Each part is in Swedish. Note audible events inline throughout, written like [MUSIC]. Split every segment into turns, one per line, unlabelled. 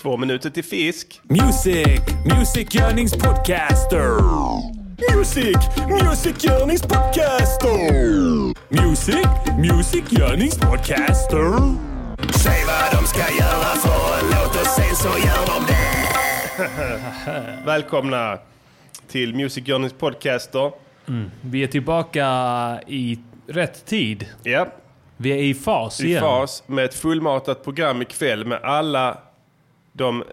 Två minuter till fisk.
Music, musikgörningspodcaster. Music, musikgörningspodcaster. Music, musikgörningspodcaster.
Säg vad de ska göra för en låt och sen så gör de det.
Välkomna till Music Journeys podcaster.
Vi är tillbaka i rätt tid.
Ja,
Vi är i fas
i
igen.
fas med ett fullmatat program ikväll med alla de eh,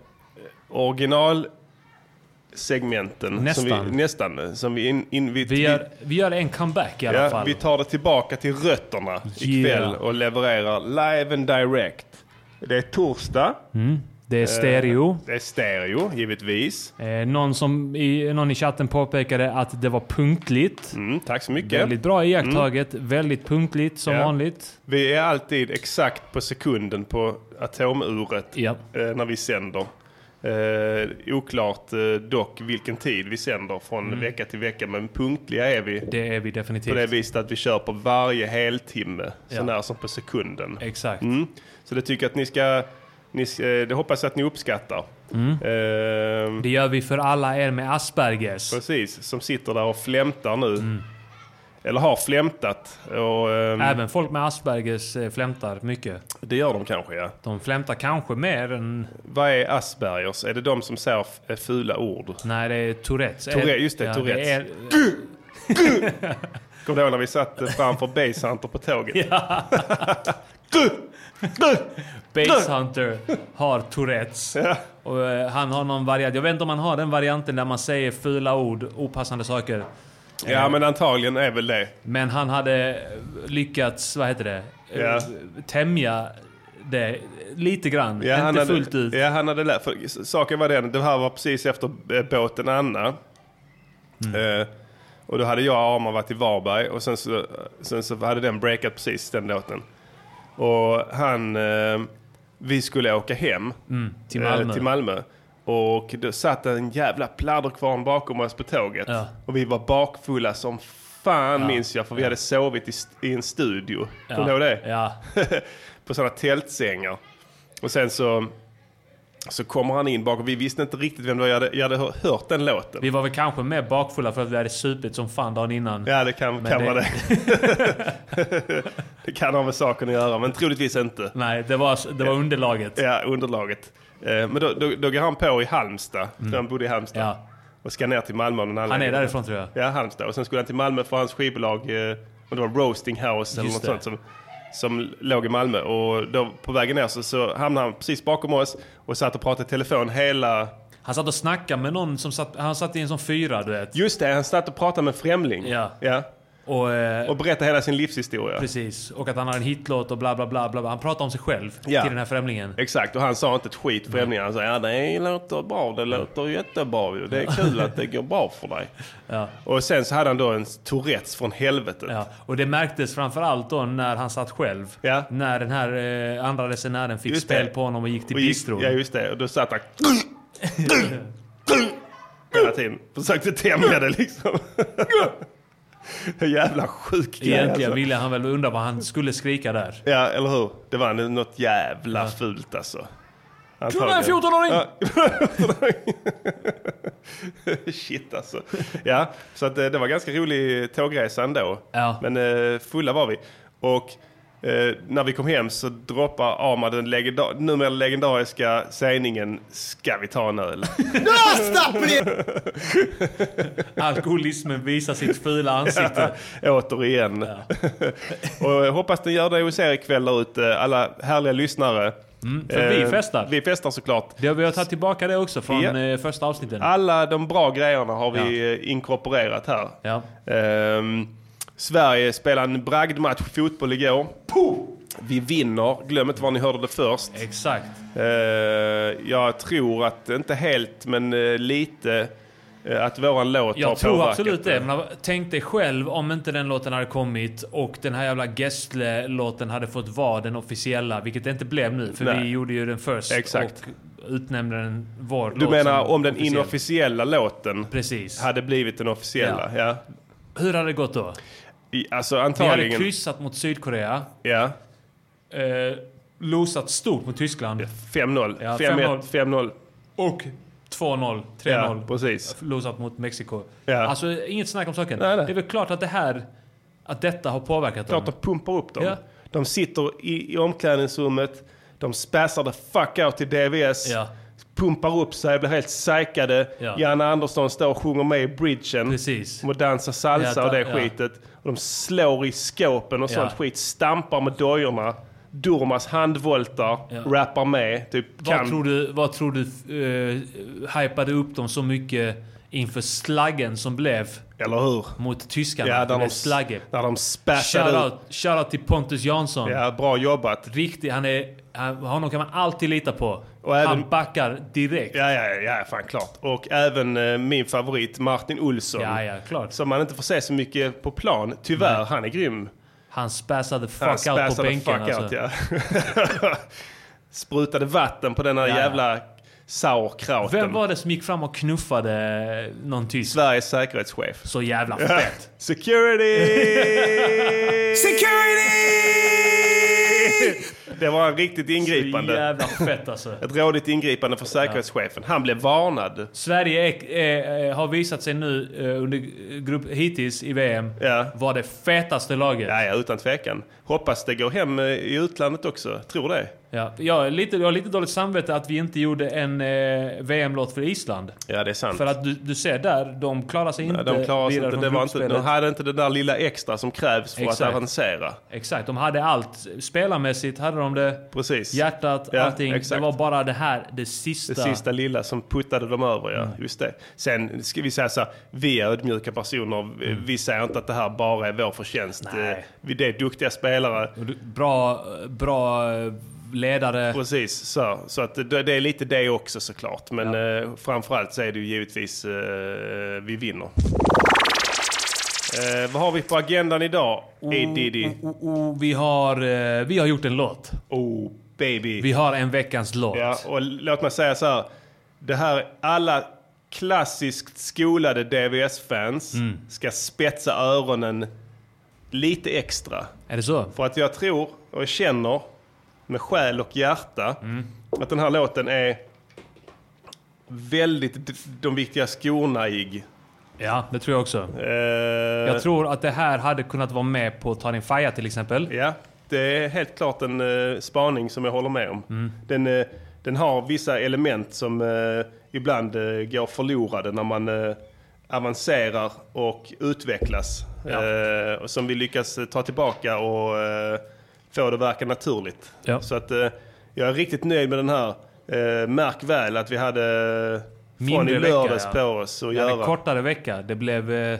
originalsegmenten
Nästan.
Som vi, nästan. eh, Som vi, in, in, vi,
Vi, gör, vi gör en comeback i alla
ja,
fall.
vi tar det tillbaka till rötterna ikväll
Yeah.
och levererar live and direct. Det är torsdag.
Det
eh.
är stereo.
Det är stereo, givetvis.
Eh, någon, som i, någon i chatten påpekade att det var punktligt.
Mm, tack så mycket.
Väldigt bra iakttaget. Väldigt punktligt som
Ja.
vanligt.
Vi är alltid exakt på sekunden på atomuret
Ja.
eh, när vi sänder. Eh, oklart eh, dock vilken tid vi sänder från vecka till vecka, men punktliga är vi
Det är vi definitivt.
på det viset att vi kör på varje heltimme, så
Ja.
när som på sekunden.
Exakt.
Mm. Så det tycker jag att ni ska, ni, s- eh, det hoppas jag att ni uppskattar. Eh,
Det gör vi för alla er med Aspergers.
precis, som sitter där och flämtar nu. Eller har flämtat. Och, ehm,
Även folk med Aspergers eh, flämtar mycket.
det gör de kanske ja.
De flämtar kanske mer än...
Vad är aspergers? Är det de som säger f- eh, fula ord?
Nej, det är Tourettes.
Tourette- just det, Tourettes.
är,
Kommer du ihåg när vi satt eh, framför Basehunter på tåget? [LAUGHS]
Base Hunter har Tourettes. Och eh, han har någon variant. Jag vet inte om han har den varianten där man säger fula ord, opassande saker.
Ja, men antagligen är väl det.
Men han hade lyckats, vad heter det? Eh,
Ja.
Tämja det lite grann.
Ja,
inte
hade,
fullt ut.
Ja, han hade lärt. För s- saken var den, det här var precis efter eh, båten Anna.
Mm.
Eh, och då hade jag och Arman varit i Varberg och sen så, eh, sen så hade den breakat precis den låten. Och han, eh, vi skulle åka hem.
Mm, Till
eh,
Malmö.
till Malmö. Och då satt en jävla pladderkvarn bakom oss på tåget.
Ja.
Och vi var bakfulla som fan minns jag. För vi hade sovit i, st- i en studio. Kommer du ihåg det?
Ja.
på sådana tältsängar. Och sen så, så kommer han in bakom. Vi visste inte riktigt vem det var. Jag hade, jag hade hör- hört den låten.
Vi var väl kanske mer bakfulla för att vi hade supit som fan dagen innan.
Ja, det kan,
Men
kan
det-
vara det. det [LAUGHS] kan ha med saken att göra, men troligtvis inte.
Nej, det var, det var underlaget.
Ja, underlaget. Eh, Men då, då, då går han på i Halmstad. Mm. Han bodde i Halmstad.
Ja.
Och ska ner till Malmö av någon
Han
anledning.
är därifrån tror jag.
Ja, Halmstad. Och sen skulle han till Malmö för hans skivbolag, eh, om det var Roasting House eller
Just
något
det.
sånt som, som låg i Malmö. Och då på vägen ner så, så hamnade han precis bakom oss och satt och pratade i telefon hela...
Han satt och snackade med någon som satt, han satt i en sån fyra du vet.
Just det, han satt och pratade med en främling.
Ja. Och, eh,
Och berättade hela sin livshistoria.
precis. Och att han har en hitlåt och bla bla bla. bla. bla. Han pratade om sig själv
Ja.
till den här främlingen.
Exakt, och han sa inte ett skit främlingen. Han sa ja det låter bra, det låter jättebra ju. Det är kul att det går bra för dig.
Ja.
Och sen så hade han då en Tourettes från helvetet.
Ja. Och det märktes framförallt då när han satt själv.
Ja.
När den här eh, andra resenären fick
Just
spel
det.
på honom och gick till
Och gick-
bistron.
Ja, just det. Och då satt han... Hela tiden. Försökte tämja det
[LAUGHS]
liksom. En jävla sjuk grej
Egentligen
alltså.
ville han väl undra vad han skulle skrika där.
Ja, eller hur? Det var nu något jävla fult alltså.
Kolla en 14-åring!
[LAUGHS] Shit alltså. Ja, så att, eh, det var ganska rolig tågresa ändå.
Ja.
Men eh, fulla var vi. Och eh, när vi kom hem så droppar Arma den legenda- numera legendariska sägningen Ska vi ta
[LAUGHS]
en öl?
Alkoholismen visar sitt fula ansikte.
Återigen. [LAUGHS] och jag hoppas den gör det hos er ikväll där ute, alla härliga lyssnare. Eh,
för vi festar.
Vi festar såklart.
Det har vi har tagit tillbaka det också från
Ja. Ah.
eh, första avsnitten.
Alla de bra grejerna har vi eh, inkorporerat här.
Ja.
Ehm, Sverige spelade en bragdmatch i fotboll igår. Vi vinner. Glöm inte var ni hörde det först.
Exakt.
Eh, jag tror att, inte helt, men eh, lite, eh, att våran låt har
Jag tror
påverkat eh.
absolut det. Men tänk dig själv om inte den låten hade kommit och den här jävla Gessle-låten hade fått vara den officiella, vilket det inte blev nu. För
Nej.
vi gjorde ju den först
Exakt.
och utnämnde den vår
Du
låt
menar
som
om den
officiell.
inofficiella låten
Precis.
hade blivit den officiella? Ja.
Hur hade det gått då?
I, alltså
Vi hade
antagligen...
kryssat mot Sydkorea.
ja.
Eh, losat stort mot Tyskland.
5-0,
Ja,
5-1, 5-0.
Och 2-0, 3-0.
Ja, precis.
Losat mot Mexiko.
Ja.
Alltså inget snack om saken.
Nej, nej.
Det är väl klart att det här, att detta har påverkat
Klart
dem.
de pumpar upp dem.
Mm. Ja.
De sitter i, i omklädningsrummet, de spassar the fuck out till DVS,
Ja.
pumpar upp sig, blir helt psykade.
Ja.
Janne Andersson står och sjunger med i bridgen.
Precis.
Och dansar salsa
Ja,
och det
ja.
skitet. Och de slår i skåpen och
Ja.
sånt skit, stampar med dojorna. Durmas handvoltar,
Ja.
rappar med, typ
Vad
kan.
tror du, vad tror du uh, hypade upp dem så mycket inför slaggen som blev
Eller hur?
mot tyskarna?
Ja,
det
där
blev
de,
slagge.
där de spassade ut.
Shoutout shout till Pontus Jansson.
Ja, bra jobbat.
Riktig, han är, han, honom kan man alltid lita på.
Och
han
även-
backar direkt.
Ja, ja, ja, fan klart. Och även eh, min favorit Martin Olsson.
Ja, ja, klart.
Som man inte får se så mycket på plan. Tyvärr, han är grym.
Han spassade fuck
Han
out på
spassade
bänken alltså.
ja. [LAUGHS] Sprutade vatten på den här
Ja, ja.
jävla sauerkrauten.
Vem var det som gick fram och knuffade någon tysk?
Sveriges säkerhetschef.
Så jävla fett. [LAUGHS]
Security!
Security!
det var en riktigt
Så
ingripande.
jävla fett alltså.
Ett rådigt ingripande från säkerhetschefen. Han blev varnad.
Sverige är, är, är, har visat sig nu eh, under grupp hittills i VM
Ja.
vara det fetaste laget.
Ja, ja, utan tvekan. Hoppas det går hem eh, i utlandet också. Tror det.
Ja. Jag, är lite, jag har lite dåligt samvete att vi inte gjorde en eh, VM-låt för Island.
Ja, det är sant.
För att du, du ser där, de klarar sig
Ja,
inte
de klarade sig
vidare
inte.
från
Det var inte.
gruppspelet.
De hade inte det där lilla extra som krävs för att
Exakt.
avancera.
Exakt, de hade allt. Spelarmässigt hade de det.
Precis.
Hjärtat,
Ja,
allting. Det
exakt.
var bara det här, det sista.
Det sista lilla som puttade dem över, ja.
Mm.
Just det. Sen ska vi säga så här, vi är ödmjuka personer. Vi- Vi säger inte att det här bara är vår förtjänst.
Mm. Nej.
Eh, Vi det är duktiga spelare.
Bra, bra eh, ledare.
Precis, så, så att det, det är lite det också såklart. Men eh, framförallt så är det ju givetvis eh, vi vinner. Eh, vad har vi på agendan idag? A Diddy.
Oh, oh, vi, har, eh, vi har gjort en låt.
Oh baby.
Vi har en veckans låt.
Ja, och låt mig säga så här. Det här, alla klassiskt skolade DVS-fans ska spetsa öronen lite extra.
Är det så?
För att jag tror och känner med själ och hjärta att den här låten är väldigt d- de viktiga skorna-ig.
Ja, det tror jag också.
Eh,
Jag tror att det här hade kunnat vara med på Ta din faja till exempel.
Ja, det är helt klart en eh, spaning som jag håller med om.
Mm.
Den, eh, den har vissa element som eh, ibland eh, går förlorade när man eh, avancerar och utvecklas.
Ja.
Eh, och som vi lyckas eh, ta tillbaka och eh, få det att verka naturligt.
Ja.
Så att eh, jag är riktigt nöjd med den här. Eh, märk väl att vi hade eh, från
Mindre
i
vecka,
lördags
ja.
på oss att
Vi hade
göra. Mm.
en kortare vecka. Det blev, eh,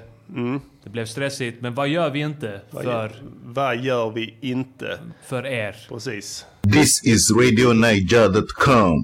det blev stressigt. Men vad gör vi inte för, Mm.
Vad gör vi inte?
för er?
Precis.
This is RadioNiger.com.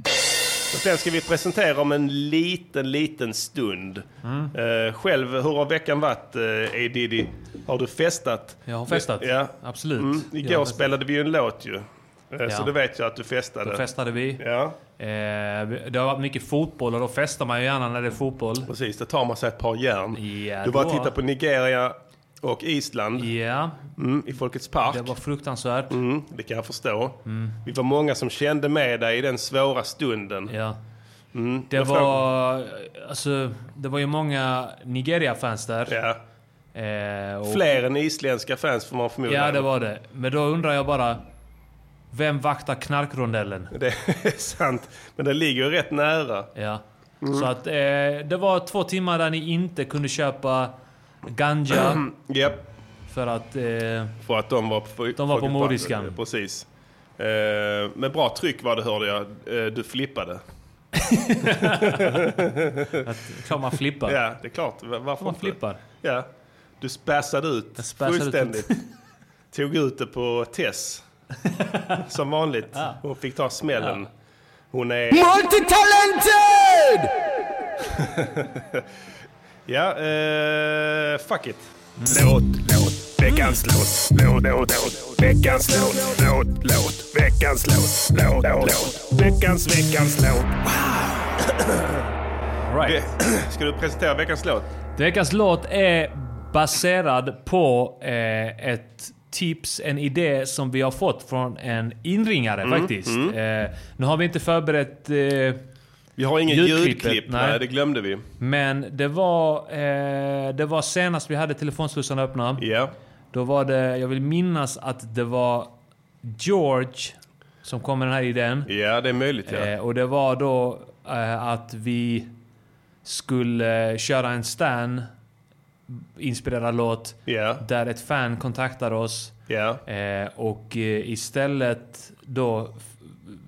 Och Den ska vi presentera om en liten, liten stund.
Mm.
Eh, själv, hur har veckan varit, eh, A. Diddy? Har du festat?
Jag har festat.
Ja.
Absolut.
Mm. Igår
Jag har festat.
spelade vi ju en låt ju. Eh, Så
Ja.
det vet jag att du festade.
Då festade vi.
Ja,
Eh, det har varit mycket fotboll och då festar man ju gärna när det är fotboll.
precis. Det tar man sig ett par järn.
Ja,
du bara
då.
tittar på Nigeria och Island
Ja,
mm, i Folkets Park.
det var Mm. fruktansvärt.
Mm, det kan jag förstå. Vi var många som kände med dig i den svåra stunden.
Ja. Det,
Mm. jag frågar-
var, alltså, det var ju många Nigeria-fans där.
Ja.
Eh, och,
Fler än isländska fans får man förmoda.
ja, det var det. Men då undrar jag bara, vem vaktar knarkrondellen?
[LAUGHS] Det är sant. Men det ligger ju rätt nära.
Ja. Så att eh, det var två timmar där ni inte kunde köpa ganja
Japp.
för att... Eh,
För att de var på,
De var på mordiskan.
Precis. Eh, men bra tryck var det hörde jag. Eh, du flippade.
klart man flippar.
Ja, det är klart. V- Varför
Man
inte?
flippar.
Ja. Du spassade ut
spassade ut.
fullständigt.
[LAUGHS]
Tog ut det på Tess. Som vanligt. Hon fick ta smällen. Hon är...
Multitalented!
Ja, eh, fuck it. [CLEARS THROAT]
Låt, låt, veckans låt, låt, låt, låt, veckans låt, låt, låt, veckans låt, låt, låt, veckans, veckans låt.
Ve-
Right.
Ska du presentera veckans låt?
Veckans låt är baserad på eh, ett tips, en idé som vi har fått från en inringare faktiskt. Eh, nu har vi inte förberett... Eh,
Vi har ingen
Ljudklippet,
ljudklipp, nej.
nej.
det glömde vi.
men det var, eh, det var senast vi hade telefonslussarna öppna.
Ja.
Då var det, jag vill minnas att det var George som kom med den här idén.
ja, det är möjligt ja.
Eh, och det var då eh, att vi skulle eh, köra en Stan inspirerad låt
Ja,
där ett fan kontaktar oss
ja.
eh, och eh, istället då f-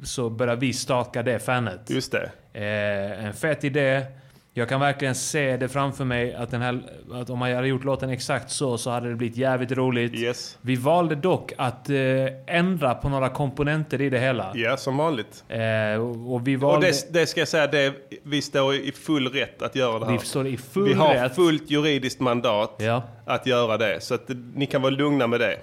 så börjar vi staka det fanet.
Just det.
Eh, en fet idé. Jag kan verkligen se det framför mig att, den här, att om man hade gjort låten exakt så så hade det blivit jävligt roligt.
Yes.
Vi valde dock att eh, ändra på några komponenter i det hela.
Ja, som vanligt.
Eh, och och vi
Och
valde...
det, det ska jag säga, det, vi står i full rätt att göra det här.
vi står i full
vi har
rätt.
fullt juridiskt mandat
Ja.
att göra det. Så att eh, ni kan vara lugna med det.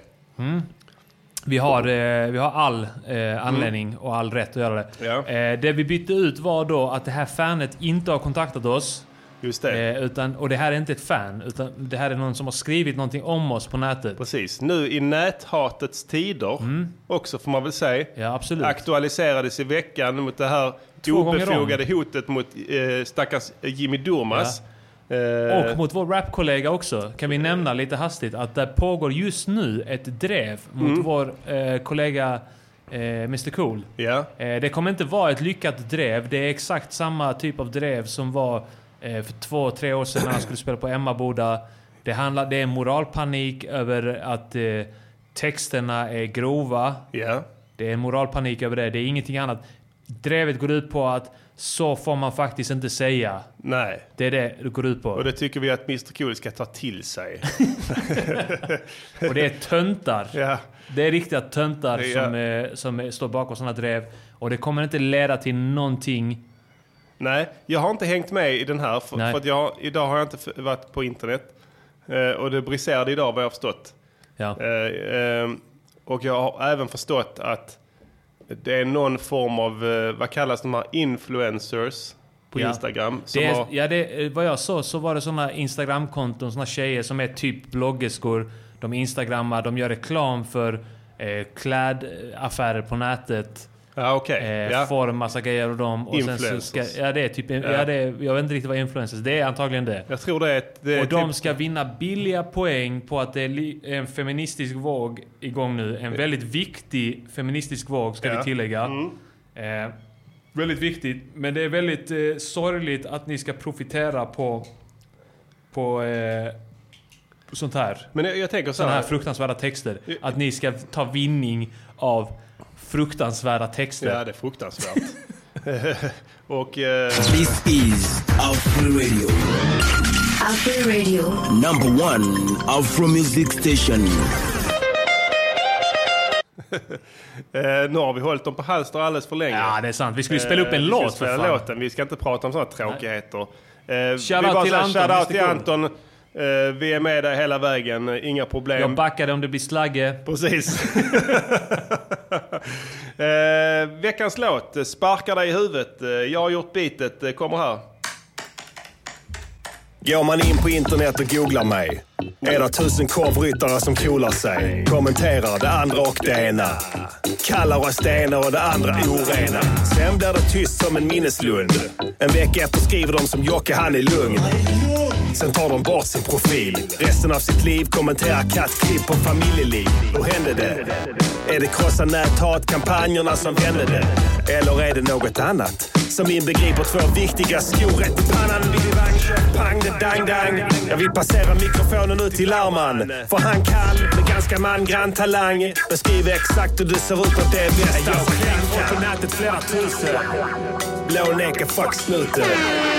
Vi har, eh, vi har all eh, anledning och all rätt att göra det.
Ja.
Eh, det vi bytte ut var då att det här fanet inte har kontaktat oss.
Just det.
Eh, utan, och det här är inte ett fan, utan det här är någon som har skrivit någonting om oss på nätet.
Precis. Nu i näthatets tider, också får man väl säga,
Mm. Ja, absolut.
aktualiserades i veckan mot det här
Två gånger
obefogade hotet mot eh, stackars Jimmy Durmaz. Eh,
Och mot vår rapkollega också, kan vi nämna lite hastigt att det pågår just nu ett drev mot
Mm.
vår eh, kollega eh, Mr Cool.
ja.
Eh, det kommer inte vara ett lyckat drev, det är exakt samma typ av drev som var eh, för två, tre år sedan när han skulle spela på Emmaboda. Det, handlar, det är moralpanik över att eh, texterna är grova,
Ja.
det är moralpanik över det, det är ingenting annat. Drevet går ut på att så får man faktiskt inte säga.
Nej.
Det är det det går ut på.
Och det tycker vi att Mr Cool ska ta
[LAUGHS]
till sig.
Och det är töntar.
ja.
Det är riktiga töntar
Ja.
som, eh, som eh, står bakom sådana drev. Och det kommer inte leda till någonting.
Nej, jag har inte hängt med i den här. För,
Nej.
för att jag, idag har jag inte f- varit på internet. Eh, och det briserade idag vad jag har förstått.
Ja.
Eh, eh, och jag har även förstått att det är någon form av, eh, vad kallas de här influencers på
Ja.
Instagram? Som
Det är,
har,
ja, det, eh, vad jag såg så var det sådana Instagramkonton, sådana tjejer som är typ bloggerskor. De instagrammar, de gör reklam för eh, klädaffärer på nätet.
ja, okej.
Eh,
ja.
Får en massa grejer av dem. Och Sen så
Influencers.
ska, ja, det är typ, en- ja. det är, jag vet inte riktigt vad influencers Det är antagligen det.
Jag tror det är ett... Det är
Och de
typ,
ska vinna billiga poäng på att det är li- en feministisk våg igång nu. En väldigt viktig feministisk våg ska
Eh. Ja. Mm.
vi tillägga. Eh, väldigt viktigt. Men det är väldigt eh, sorgligt att ni ska profitera på, på, eh, på sånt här.
men jag, jag tänker så
Såna här
här.
fruktansvärda texter. Att ni ska ta vinning av fruktansvärda texter.
Ja, det är fruktansvärt. [LAUGHS] och eh,
This is Afro Radio,
Afro Radio.
number one Afro music station.
eh, nu har vi hållit dem på halster alldeles för länge.
Ja, det är sant. Vi skulle ju spela upp en
Eh, vi
låt
ska
för
spela
fan.
låten. Vi ska inte prata om sådana tråkigheter. Eh,
Shoutout
vi bara
till
säger
Anton,
Shoutout
Mr.
till
Cool.
Anton. Eh, vi är med dig hela vägen, eh, inga problem.
Jag backade om det blir slagge.
Precis. [LAUGHS] eh, veckans låt, eh, Sparkar dig i huvudet. Eh, Jag har gjort bitet, eh, kommer här.
Går man in på internet och googlar mig är det tusen korvryttare som coolar sig. Kommenterar det andra och det ena. Kallar oss det ena och det andra orena. Sen blir det tyst som en minneslund. En vecka efter skriver de som Jocke, han är lugn. Sen tar de bort sin profil. Resten av sitt liv kommenterar kattklipp på familjeliv. Hur hände det? Är det krossa näthatkampanjerna som vände det? Eller är det något annat? Som inbegriper två viktiga skor rätt i pannan. Vilivang, pang, det dang, dang. Jag vill passera mikrofonen ut till Larman. För han kan, med ganska mangrann talang, beskriva exakt hur du ser ut och det är bästa som kan. Och på nätet flera tusen. Blåneka fuck snuten.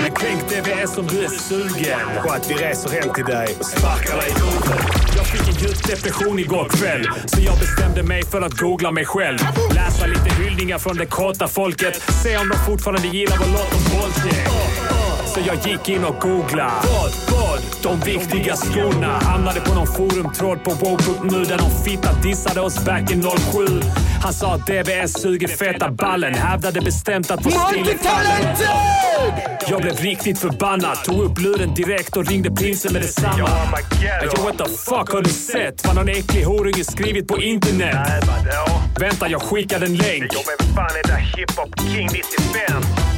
Men tänk dig vi är som du är sugen på att vi reser hem till dig och sparkar dig i huvudet. Jag fick en djup depression igår kväll så jag bestämde mig för att googla mig själv. Läsa lite hyllningar från det kåta folket. Se om de fortfarande gillar vår låt om våldtäkt. Så jag gick in och googlade. Vad? Vad? De viktiga skorna hamnade på någon forumtråd på wow.nu där någon fitta dissade oss back in 07. Han sa att DBS suger feta ballen. Hävdade bestämt att vår stil är fallen.
Multi-talented!
Jag
blev riktigt förbannad. Tog upp luren direkt och ringde prinsen med detsamma. Yo, what the fuck har du sett? Vad någon äcklig horunge skrivit på internet? Vänta, jag skickar en länk.
Jag är fan är där hiphop king 95?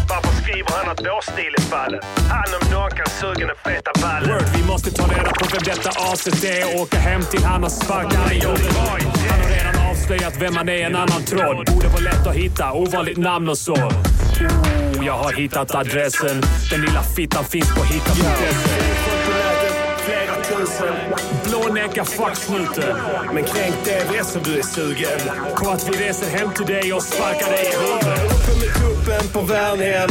Varför skriver han att vår stil är fallet? Han om någon kan suga den feta ballen.
Word, vi måste ta reda på vem detta aset är och åka hem till han och sparka han i Göteborg. Han har redan avslöjat vem han är i en annan tråd. Borde vara lätt att hitta, ovanligt namn och så. Oh, Jag har hittat adressen. Den lilla fittan finns på hitta.se.
Flera tusen.
Blånäcka fucksnuten.
Men kränk det som du är sugen.
Kom att vi reser hem till dig och sparkar dig i huvudet.
Uppe med kuppen på Värnhem.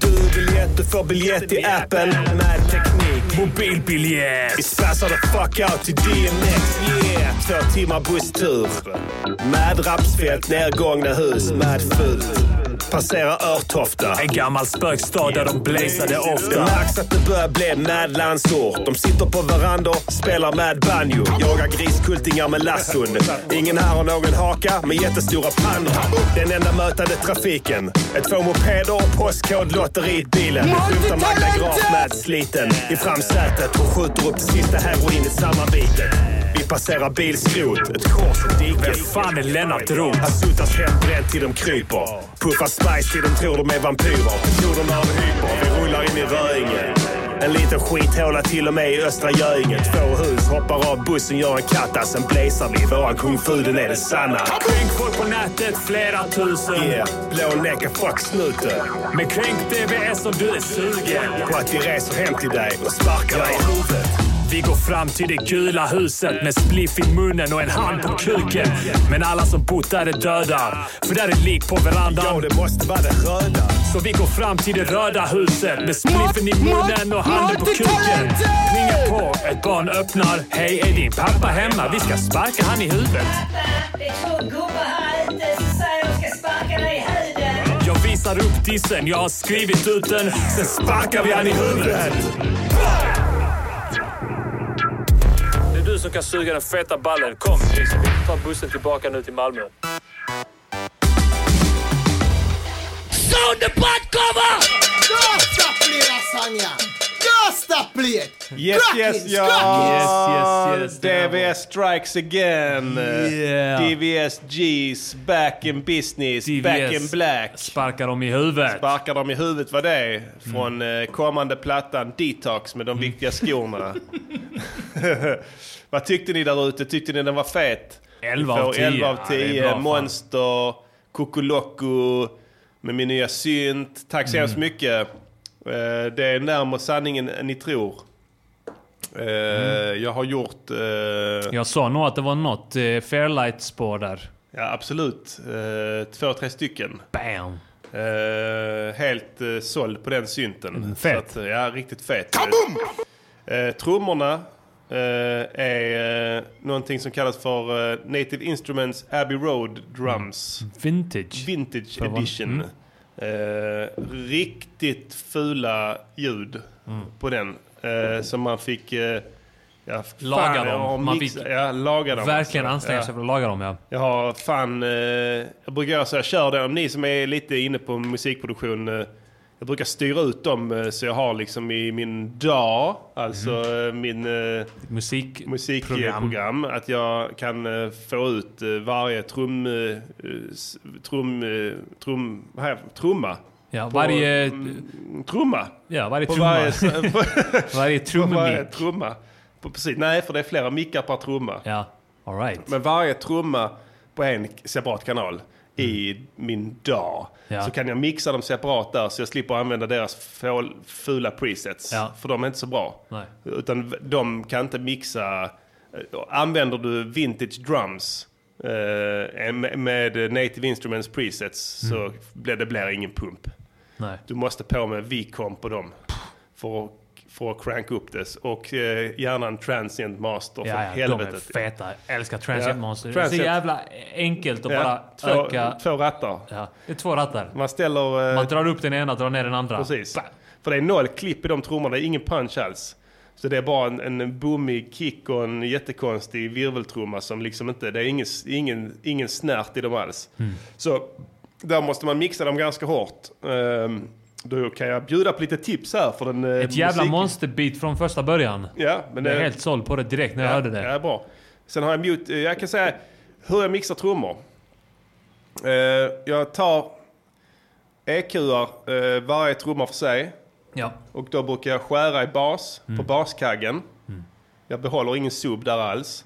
Du biljett, du får biljett i appen. Med teknik.
Mobilbiljett.
Vi spassar the fuck out till DMX, yeah! Två timmar busstur. Med rapsfält, nedgångna hus, med fult. Passerar Örtofta.
En gammal spökstad där de blazade
Det
ofta.
märks att det börjar bli mad landsort. De sitter på verandor, spelar mad banjo. Jagar griskultingar med lasson. Ingen här har någon haka med jättestora pannor. Den enda mötande trafiken. Ett två mopeder och postkodlotteribilen. Skymtar Magda Graf med sliten i framsätet. Hon skjuter upp det sista heroinet sammanbitet. Vi passerar bilskrot, ett kors och dike.
Vem fan är Lennart Roth?
Han suttas hembränd till de kryper. Puffar spice till de tror de är vampyrer. Floderna av hyper, vi rullar in i Röinge. En liten skithåla till och med i Östra Göinge. Två hus, hoppar av bussen, gör en katta. Sen blazar vi, våran kung fu den är den sanna.
Kränk folk på nätet flera tusen.
Yeah, blånäcka fuck snuten.
Men kränk DBS om du är sugen.
På att vi reser hem till dig och sparkar dig i huvudet.
Vi går fram till det gula huset med spliff i munnen och en hand på kuken. Men alla som bott där är döda, för där är lik på
Ja,
verandan.
det måste vara det röda.
Så vi går fram till det röda huset med spliffen i munnen och handen på kuken. Klingar på, ett barn öppnar. Hej, är din pappa hemma? Vi ska sparka han i huvudet.
Det är två gubbar här ute som säger de ska sparka dig i huden.
Jag visar upp dissen, jag har skrivit ut den. Sen sparkar vi han i huvudet. Det är du som kan suga den feta ballen. Kom, Lisa, vi tar bussen tillbaka nu till Malmö.
Yes, yes, ja!
Yes, yes, yes, det var
DVS strikes again!
Yeah.
DVS G's back in business,
DVS.
back in black.
Sparkar dem i huvudet.
Sparkar dem i huvudet vad det är från eh, kommande plattan Detox med de viktiga skorna. [LAUGHS] vad tyckte ni där ute? Tyckte ni den var fet?
11
Får
av 10.
11 av
Ja, det är
10.
bra, fan.
Monster, Kukulocko med min nya synt. Tack så
Mm.
hemskt mycket. Eh, Det är närmare sanningen än ni tror. Eh,
Mm.
Jag har gjort... eh,
Jag sa nog att det var något eh, Fairlight-spår där.
Ja, absolut. Eh, Två, tre stycken.
Bam!
Eh, helt eh, såld på den synten.
Mm, fet.
Så att, eh, ja, riktigt fet. Kaboom! Eh, trummorna eh, är eh, någonting som kallas för eh, Native Instruments Abbey Road Drums.
Mm. Vintage.
Vintage
För vad?
Edition. Eh, riktigt fula ljud
Mm.
på den. Eh, som man fick... Eh, ja, fan,
Laga
jag
dem.
har
Man
mix-
fick
ja, laga dem.
Verkligen
alltså.
anstränga
Ja.
sig för att laga dem ja.
Jag har fan... Eh, jag brukar göra så jag kör det. Om ni som är lite inne på musikproduktion. Eh, jag brukar styra ut dem eh, så jag har liksom i min dag, alltså eh, min eh,
Musik... Mhm. Program.
musikprogram, att jag kan eh, få ut eh, varje trum... Eh, s- trum, eh, trum här, trumma.
Ja, varje...
Trumma!
Ja, varje
mm, På
trumma. Varje,
varje, [LAUGHS] på,
[LAUGHS] varje
på varje
trummemick.
trumma. På, precis, nej, för det är flera mickar per trumma.
Ja, alright.
Men varje trumma på en separat kanal i min dag.
Ja.
Så kan jag mixa dem separat där så jag slipper använda deras fål- fula presets.
Ja.
För de är inte så bra.
Nej.
Utan v- de kan inte mixa. eh, Använder du vintage drums eh, med- med native instruments presets
Mm.
så blir det blir ingen pump.
Nej.
Du måste på med V-comp på dem för att, för att cranka upp det. Och eh, gärna en transient master för
Ja, ja, de är
helvetet.
feta. Jag älskar Transient
Ja,
Monster. Det är
Transient.
så jävla enkelt att
Ja,
bara
två,
öka...
två rattar.
Ja, det är två rattar.
Man ställer... eh,
Man drar upp den ena, drar ner den andra.
precis. För det är noll klipp i de trummorna, det är ingen punch alls. Så det är bara en, en boomig kick och en jättekonstig virveltrumma som liksom inte... Det är ingen, ingen, ingen
Mm.
snärt i dem alls. Så där måste man mixa dem ganska hårt. Ehm, Då kan jag bjuda på lite tips här för den eh,
Ett jävla
musik-
monsterbeat från första början.
Ja, men
Jag är
eh,
helt såld på det direkt när jag hörde det.
Ja, bra. Sen har jag mute, eh, jag kan säga hur jag mixar trummor. Eh, jag tar EQ'ar eh, varje trumma för sig.
Ja.
Och då brukar jag skära i bas,
Mm.
på baskaggen. Jag behåller ingen sub där alls.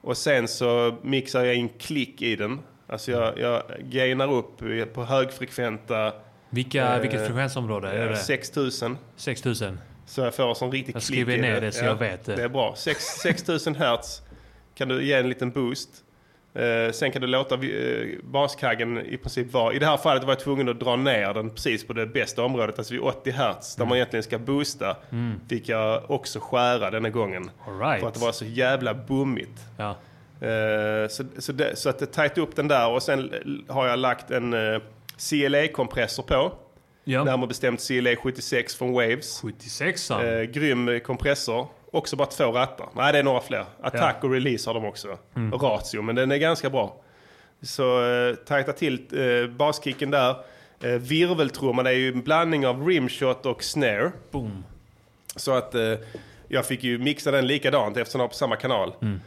Och sen så mixar jag in klick i den. Alltså jag, jag gainar upp i- på högfrekventa
Vilka,
Eh,
vilket frekvensområde? Är
eh,
det
6000.
6000?
Så jag får en sån riktig
Jag
klick
skriver
i
ner det så jag vet det.
Det är bra. Sex- 6000 hertz kan du ge en liten boost. Eh, sen kan du låta vi- eh, baskaggen i princip vara... I det här fallet var jag tvungen att dra ner den precis på det bästa området, alltså vid 80 hertz,
Mm.
där man egentligen ska boosta. Fick jag också skära denna gången.
All right.
För att det var så jävla bummigt.
Ja.
Eh, så, så, det, så att det tajtade upp den där och sen l- har jag lagt en eh, CLA-kompressor på.
ja.
Närmare bestämt CLA 76 från Waves.
76
Eh, grym eh, kompressor. Också bara två rattar. Nej, det är några fler. Attack och release har de också. Ratio, men den är ganska bra. Så eh, tajta till eh, baskicken där. Eh, virveltrumman är ju en blandning av rimshot och snare.
Boom.
Så att eh, jag fick ju mixa den likadant eftersom den var på samma kanal.
Mm.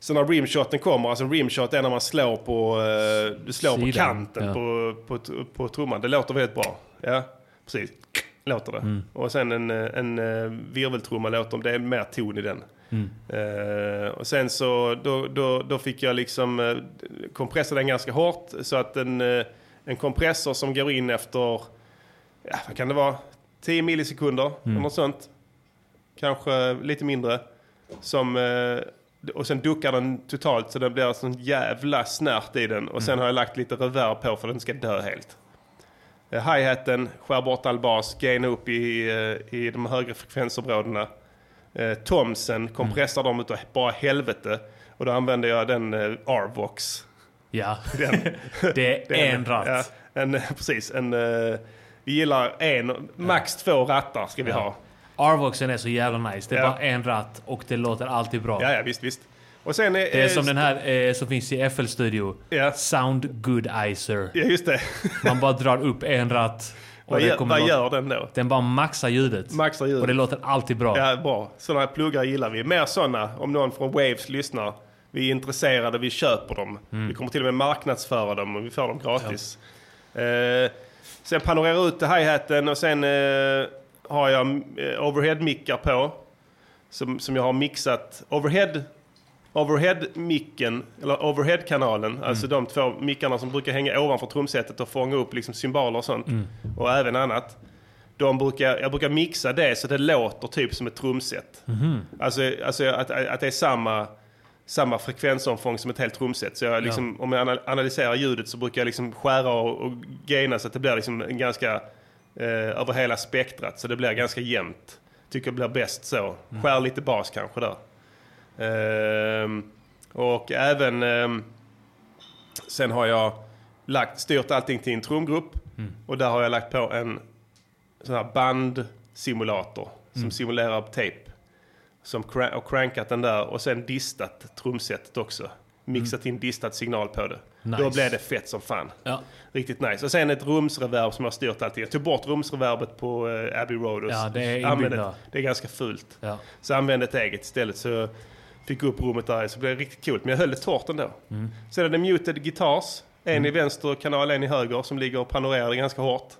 Så när rimshoten kommer, alltså rimshot är när man slår på, eh, du slår på
Sidan,
kanten
ja.
på, på, på trumman. Det låter väldigt bra. Ja, precis. Låter det.
Mm.
Och sen en, eh, en eh, virveltrumma låter, om det är mer ton i den.
Mm.
Eh, och sen så då, då, då fick jag liksom eh, kompressa den ganska hårt så att en, eh, en kompressor som går in efter ja, vad kan det vara? 10 millisekunder
Mm.
eller något sånt. Kanske lite mindre. Som, eh, och sen duckar den totalt så det blir alltså en sån jävla snärt i den. Och sen
Mm.
har jag lagt lite reverb på för att den ska dö helt. Eh, Hi-haten, skär bort all bas, gaina upp i, eh, i de högre frekvensområdena. Eh, Thomsen kompressar
Mm.
dem utav bara helvete. Och då använder jag den eh, R-vox.
Ja.
Den,
[LAUGHS] Det
det
är en ratt.
Ja, en, [LAUGHS] precis. En, eh, vi gillar en, max två rattar ska vi ha.
Arvoxen är så jävla nice. Det är
Ja.
bara en ratt och det låter alltid bra.
Ja, ja, visst, visst. Och sen eh, är,
Det är som den här eh, som finns i FL Studio.
Ja.
Sound Goodizer.
Ja, just det.
Man bara drar upp en ratt. Och
vad
det
gör,
kommer
vad
låta-
gör den då?
Den bara maxar ljudet.
Maxar ljudet.
Och det låter alltid bra.
Ja, bra. Sådana här pluggar gillar vi. Mer sådana, om någon från Waves lyssnar. Vi är intresserade, vi köper dem. Vi kommer till och med marknadsföra dem och vi får dem gratis. Eh, sen panorerar ut hi-haten och sen eh, har jag eh, overhead-mickar på. Som, som jag har mixat. Overhead, overhead-micken, eller overhead-kanalen. Alltså de två mickarna som brukar hänga ovanför trumsetet och fånga upp liksom symboler och sånt. Och även annat. De brukar, jag brukar mixa det så det låter typ som ett trumset. Alltså, alltså att, att det är samma, samma frekvensomfång som ett helt trumset. Så jag liksom, om jag anal- analyserar ljudet så brukar jag liksom skära och, och gaina så att det blir liksom en ganska eh, över hela spektrat. Så det blir ganska jämnt. Tycker det blir bäst så. Skär lite bas kanske där. Ehm, och även... ehm, sen har jag lagt, styrt allting till en trumgrupp. Och där har jag lagt på en sån här bandsimulator som simulerar tejp. Som cra- och crankat den där och sen distat trumsetet också. Mixat in distat signal på det. Då
Nice.
blev det fett som fan.
Ja.
Riktigt nice. Och sen ett rumsreverb som jag har styrt allting. Jag tog bort rumsreverbet på eh, Abbey Road. och
Ja,
s-
det är
använde
inbyggda.
ett- Det är ganska fult.
Ja.
Så jag använde ett eget istället. Så jag fick upp rummet där så blev det riktigt coolt. Men jag höll det torrt ändå.
Mm.
Sen är det muted guitars. En i vänster kanal, en i höger som ligger och panorerar ganska hårt.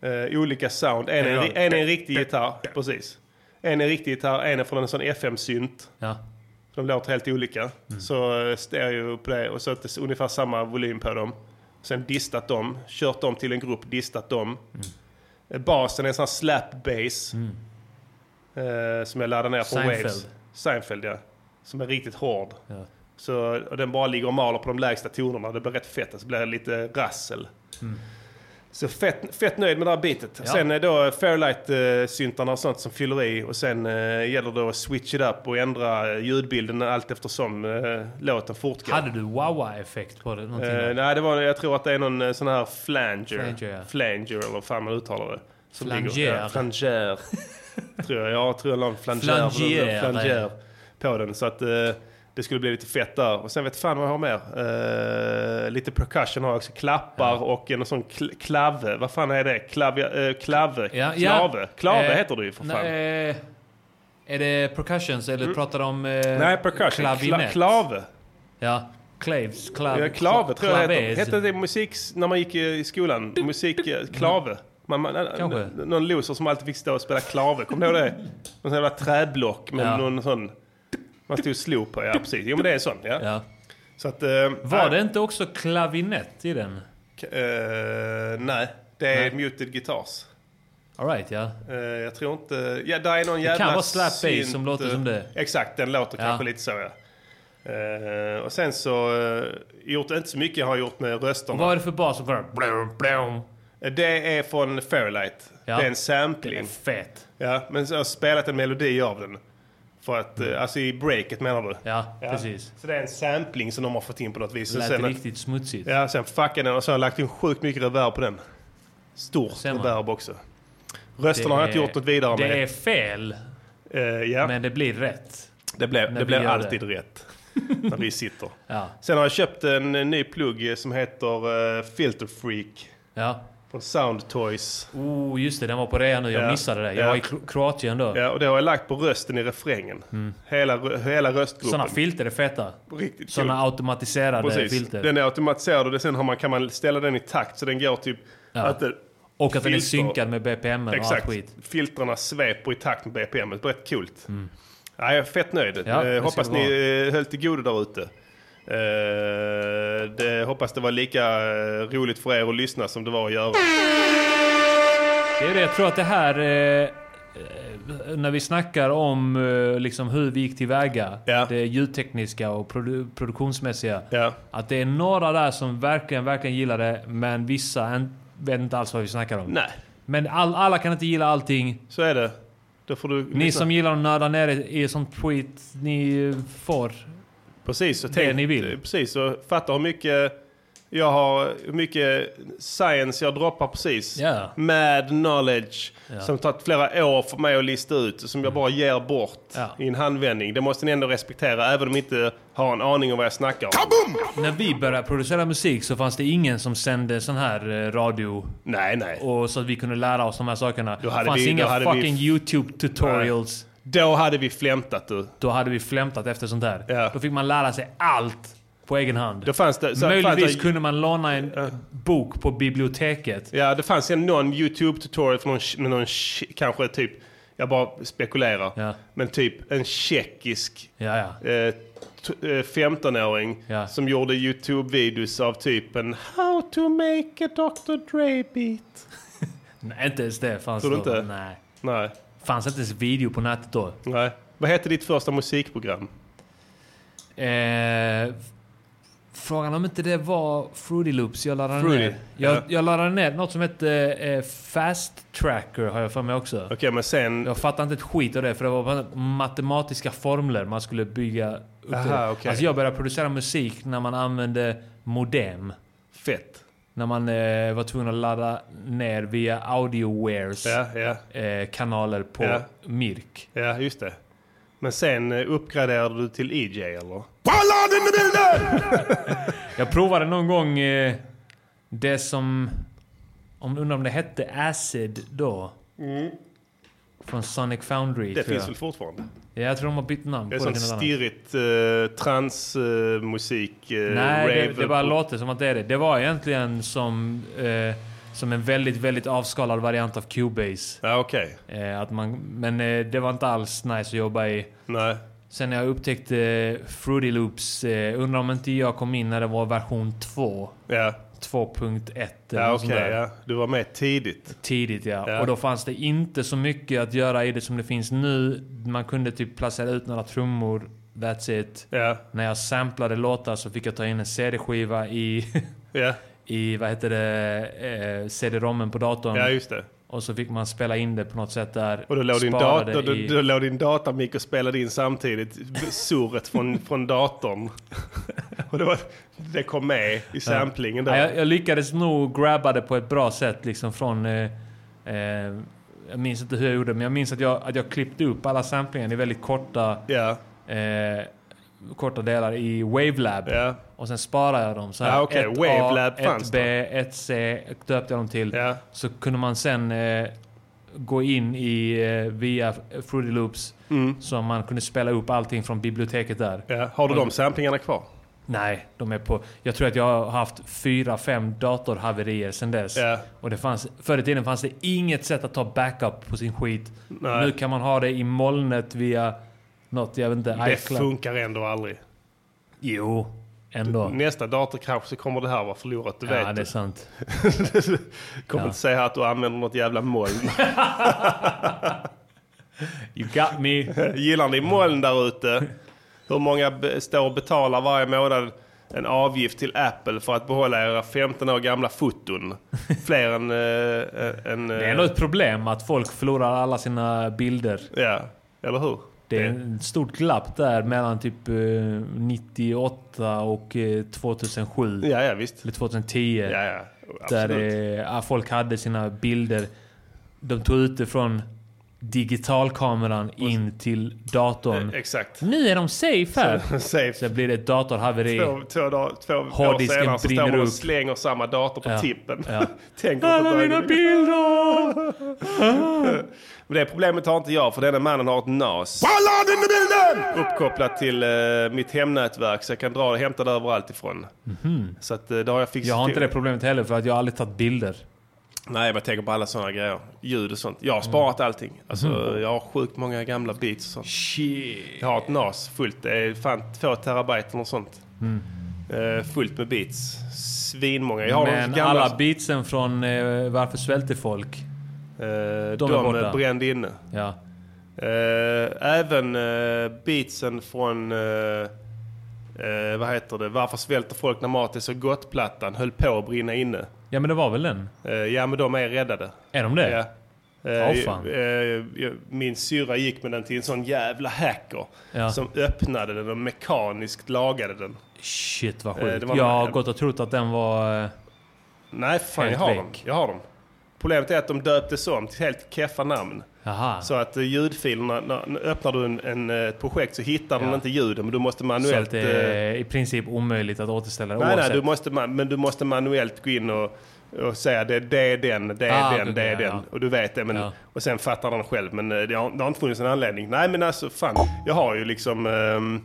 Eh, olika sound. En är, en är en riktig gitarr, precis. En är en riktig gitarr, en är från en sån FM-synt.
Ja.
De låter helt olika.
Mm.
Så eh, stereo på det och så att det är ungefär samma volym på dem. Sen distat dem, kört dem till en grupp, distat dem.
Mm.
Eh, Basen är en sån här slap bass. Eh, som jag laddar ner från
Seinfeld.
Waves. Seinfeld ja. Som är riktigt hård.
Ja.
Så, och den bara ligger och maler på de lägsta tonerna. Det blir rätt fett. Alltså, det blir lite rassel.
Mm.
Så fett, fett nöjd med det här bitet. Sen är då Fairlight-syntarna och sånt som fyller i. Och sen eh, gäller det att switch it up och ändra eh, ljudbilden allt eftersom eh, låten fortgår.
Hade du wawa-effekt på det? Någonting?
Eh, nej, det var, jag tror att det är någon eh, sån här flanger.
Flanger, ja.
Flanger, eller vad fan man uttalar det. Som
Flanger.
ligger-
[LAUGHS]
Ja, flanger. tror jag. Ja, Jag tror jag la en flanger,
Flanger,
flanger på den. Så att eh, Det skulle bli lite fett där. Och sen vet fan vad jag har mer. Eh, lite percussion har jag också. Klappar och en sån kl- klave. Vad fan är det? Klavia, eh, klave?
Ja, ja.
klave? Klave
Eh,
heter det ju för fan. Nej,
nej, eh, är det percussions eller pratar du om... Eh,
percussion. Kla,
klavinett?
klave.
Ja. Claves. Klav,
Ja, klave tror jag det heter.
klavez.
Hette det musik när man gick i skolan? Musik... eh, Klave. Man, man,
Kanske.
n- någon loser som alltid fick stå och spela klave. Kommer du ihåg det? Någon sån jävla träblock med
Ja.
någon sån... Man stod och slog på. Ja, precis. Jo, men det är en sån. Ja.
Ja.
Så att, eh,
Var
nej,
det inte också klavinett i den?
k- eh, nej, det är muted guitars.
Alright, ja.
Eh, jag tror inte... Ja, där är någon jävla
kan vara slap bass som
synt,
låter
eh,
som det.
Exakt, den låter
Ja.
kanske lite så ja. Eh, och sen så... Uh, gjort, inte så mycket har jag gjort med rösterna.
Vad är det för bas som bara... Blum, blum.
Det är från Fairlight.
Ja.
Det
Det
är en
är
sampling.
fet.
Ja, men så har jag spelat en melodi av den. För att, eh, alltså i breaket menar du?
Ja, precis.
Så det är en sampling som de har fått in på något vis.
Det
Och
lät
sen,
riktigt smutsigt.
Ja, sen fuckade den och så har jag lagt in sjukt mycket reverb på den. Stort
Ser man.
reverb också. Rösterna har jag inte
är-
gjort något vidare
Det är
med.
fel,
Eh, ja,
men det blir rätt.
det blev,
när
det
vi
blev
gör [LAUGHS]
alltid rätt. när vi sitter.
Ja.
Sen har jag köpt en eh, ny plugg eh, som heter eh, Filter Freak.
Ja.
Från Sound Toys.
Oh, just det. Den var på rea nu. Jag
Ja.
missade det. Jag
Ja.
var i Kro- Kroatien då.
Ja, och det har jag lagt på rösten i refrängen. Hela, rö- hela röstgruppen.
Mm. Såna filter är feta.
Riktigt
Såna automatiserade
Precis.
filter.
Den är automatiserad och det- sen har man, kan man ställa den i takt så den går typ...
Ja.
Att det,
och att den är
filter.
synkad med BPM och allt
exakt.
skit. Mm.
Filtrarna sveper i takt med BPM. Det är rätt coolt. Ja, jag är fett nöjd.
Ja, det
eh,
ska
hoppas
det
ni eh, höll till godo där ute. Eh, det, hoppas det var lika eh, roligt för er att lyssna som det var att göra.
Det är det. Jag tror att det här... Eh, eh, när vi snackar om eh, liksom hur vi gick tillväga.
Ja.
Det ljudtekniska och produ- produktionsmässiga.
Ja.
Att det är några där som verkligen, verkligen gillar det. Men vissa en, vet inte alls vad vi snackar om.
Nej,
Men all, alla kan inte gilla allting.
så är det. Då får du
Ni
lyssna.
som gillar att nörda ner er i sånt tweet, ni eh, får.
Precis, och tänk,
ni vill.
Precis, och fatta hur mycket jag har, hur mycket science jag droppar precis.
Ja.
Mad knowledge. Som tagit flera år för mig att lista ut. Som jag bara ger bort
Mm. Ja.
i en handvändning. Det måste ni ändå respektera, även om ni inte har en aning om vad jag snackar om.
När vi började producera musik så fanns det ingen som sände sån här eh, radio.
Nej, nej.
Och så att vi kunde lära oss de här sakerna.
Då hade
det fanns
vi- då
inga
hade vi-
fucking YouTube tutorials.
Då hade vi flämtat du.
Då hade vi flämtat efter sånt där.
Ja.
Då fick man lära sig allt på egen hand.
Då fanns det... så-
Möjligtvis
fanns det,
kunde man låna en bok på biblioteket.
Ja, det fanns en någon YouTube-tutorial för någon, sh- med någon sh- kanske typ, jag bara spekulerar.
Ja.
Men typ en tjeckisk
Ja, ja.
eh, t- eh, 15-åring
Ja.
som gjorde YouTube-videos av typen How to make a Dr. Dre beat.
Nej, inte ens det fanns
Tror du
då.
inte?
Nej.
Nej,
Fanns inte ens video på nätet då.
nej. Vad hette ditt första musikprogram?
Eh, frågan om inte det var Fruity Loops jag laddade
Fruity,
ner. Jag,
ja.
jag laddade ner något som hette eh, Fast Tracker har jag för mig också.
Okej, men sen...
Jag fattar inte ett skit av det för det var bara matematiska formler man skulle bygga upp
Aha,
till det.
okej.
Alltså jag började producera musik när man använde modem.
Fett.
När man eh, var tvungen att ladda ner via Audiowares
Ja, ja,
eh, kanaler på
Ja.
Mirk.
ja, just det. Men sen eh, uppgraderade du till EJ, eller?
Jag provade någon gång eh, det som... Om, undrar om det hette Acid då? Från Sonic Foundry
Mm. Det
tror
finns
jag.
väl fortfarande?
Ja, jag tror de har bytt namn
Det är
på det
sånt
till något annat.
stirrigt eh, transmusik, eh,
Nej, det,
rave
det bara
på-
låter som att det är det. Det var egentligen som... Eh, som en väldigt, väldigt avskalad variant av Cubase.
Ja, okej.
Eh, att man, men eh, det var inte alls nice att jobba i.
Nej.
Sen när jag upptäckte eh, Fruity Loops, eh, undrar om inte jag kom in när det var version 2.
Ja,
2.1 eller
ja
något
okej.
sånt där.
ja. Du var med tidigt.
Tidigt ja.
Ja.
Och då fanns det inte så mycket att göra i det som det finns nu. Man kunde typ placera ut några trummor, that's it.
Ja,
När jag samplade låtar så fick jag ta in en CD-skiva i, [LAUGHS]
ja.
i vad heter det, eh, CD-rommen på datorn.
ja just det.
och så fick man spela in det på något sätt där.
Och då låg, din
Spara
dator,
det i-
då, då låg din datamik och spelade in samtidigt b-
[LAUGHS]
surret från, från datorn. och det, var, det kom med i samplingen
Ja,
där.
jag, jag lyckades nog grabba det på ett bra sätt liksom från... Eh, eh, jag minns inte hur jag gjorde, men jag minns att jag, att jag klippte upp alla samplingar i väldigt korta
Ja,
eh, korta delar i Wavelab.
Ja.
Och sen sparar jag dem så här.
Ja, okej.
1A,
Wavelab fanns
1B, 1C döpte jag dem till.
Ja.
Så kunde man sen eh, gå in i, eh, via Fruity Loops. Så man kunde spela upp allting från biblioteket där.
Mm. Ja. Har du de samplingarna kvar?
Nej, de är på... Jag tror att jag har haft fyra, fem datorhaverier sedan dess.
Ja.
Och det fanns, förr i tiden fanns det inget sätt att ta backup på sin skit.
Nej.
Nu kan man ha det i molnet via något, jag vet inte,
Det
iCloud.
funkar ändå aldrig.
jo, ändå.
Nästa datorkrasch så kommer det här vara förlorat, du
Ja,
vet.
det är sant.
[LAUGHS] kommer
Ja.
inte säga att du använder något jävla moln.
You got me.
Gillar ni moln där ute? Hur många be- står och betalar varje månad en avgift till Apple för att behålla era 15 år gamla foton? Fler än... Äh, än eh,
Det är ändå ett problem att folk förlorar alla sina bilder.
Ja, eller hur?
Det är ett stort glapp där mellan typ eh, 98 och eh, 2007.
Ja, ja visst.
Eller 2010.
Ja, ja.
Där
Absolut.
det, ja, folk hade sina bilder. De tog ut det från digitalkameran in till datorn.
Exakt. [LAUGHS]
Nu är de safe här!
Safe.
Sen blir det ett datorhaveri.
Två, två, dagar- två år
Harddisken
senare så står
brinner
man och
upp.
slänger samma dator på
Ja,
tippen.
ja.
[LAUGHS] Tänk om
Alla
det-
mina bilder!
Men det problemet har inte jag för denna mannen har ett NAS. Uppkopplat till eh, mitt hemnätverk så jag kan dra och hämta det överallt ifrån. Så att, eh, det har jag fixat
Mhm. Jag har inte
till.
det problemet heller för att jag har aldrig tagit bilder.
Nej, men jag tänker på alla sådana grejer. Ljud och sånt. Jag har sparat
Mm.
allting. Alltså,
Mhm.
Jag har sjukt många gamla beats och sånt.
Shit.
Jag har ett NAS fullt. Det är fan två terabyte och sånt.
Mm.
Eh, fullt med beats. Svinmånga. Jag har
Men
de gamla...
alla beatsen från eh, Varför svälter folk?
eh,
de är
de
borta.
eh, brände inne.
Ja.
Eh, även eh, beatsen från, eh, eh, vad heter det, Varför svälter folk när mat är så gott-plattan höll på att brinna inne.
ja, men det var väl den?
Eh, ja men de är räddade.
Är de det?
Ja. Eh,
Åh, fan.
eh, jag- min syrra gick med den till en sån jävla hacker
Ja.
som öppnade den och mekaniskt lagade den.
Shit vad
Eh,
sjukt.
det var-
jag har gått och trott att den var... eh,
Nej fan jag
Helt
har
väck.
dem. Jag har dem. Problemet är att de döptes om till helt keffa namn.
Jaha.
Så att eh, ljudfilerna, när, när öppnar du en, en, eh, ett projekt så hittar den
Ja.
inte ljuden men du måste
Så
manuellt...
att det
eh,
är i princip omöjligt att återställa det
Nej, nej
oavsett.
du måste, man- men du måste manuellt gå in och, och säga det, det är den, det är
Ah,
den,
okej,
det är
ja,
den.
ja.
Och du vet det. Men,
Ja.
Och sen fattar den själv. Men eh, det har, det har inte funnits en anledning. Nej men alltså fan. Jag har ju liksom ehm,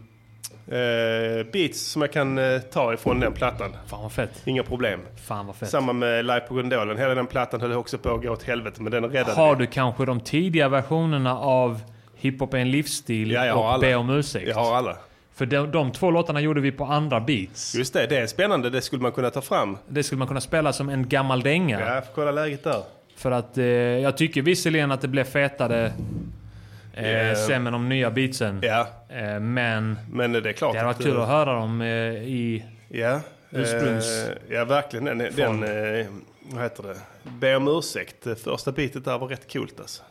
eh, beats som jag kan eh, ta ifrån den plattan.
Fan vad fett.
Inga problem.
Fan vad fett.
Samma med Live på Gondolen. Hela den plattan höll också på att gå åt helvete. Men den räddade
Har
vi.
du kanske de tidiga versionerna av Hiphop är en livsstil
Ja, jag har
och
alla.
Be om ursäkt?
Jag har alla.
För de, de två låtarna gjorde vi på andra beats.
Just det, det är spännande. Det skulle man kunna ta fram.
Det skulle man kunna spela som en gammal dänga.
Ja, jag får kolla läget där.
För att eh, jag tycker visserligen att det blev fetare eh,
Yeah.
sen med de nya beatsen.
Ja,
Eh, men
men det är klart
det hade varit
att,
kul
eh,
att höra dem eh, i...
Ja,
Ursprungs-
eh, ja verkligen. Den, den eh, vad heter det? Be om ursäkt. Det Första bitet där var rätt coolt alltså.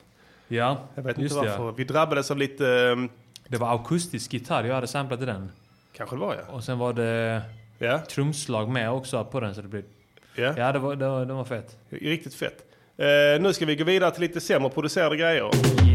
Ja,
Jag vet
just
inte
det.
varför. Vi drabbades av lite, eh,
Det var akustisk gitarr jag hade samplat i den.
kanske det var ja.
Och sen var det
Ja,
trumslag med också på den så det blev...
ja.
Ja, det var, det var, det var fett.
riktigt fett. Eh, nu ska vi gå vidare till lite sämre producerade grejer.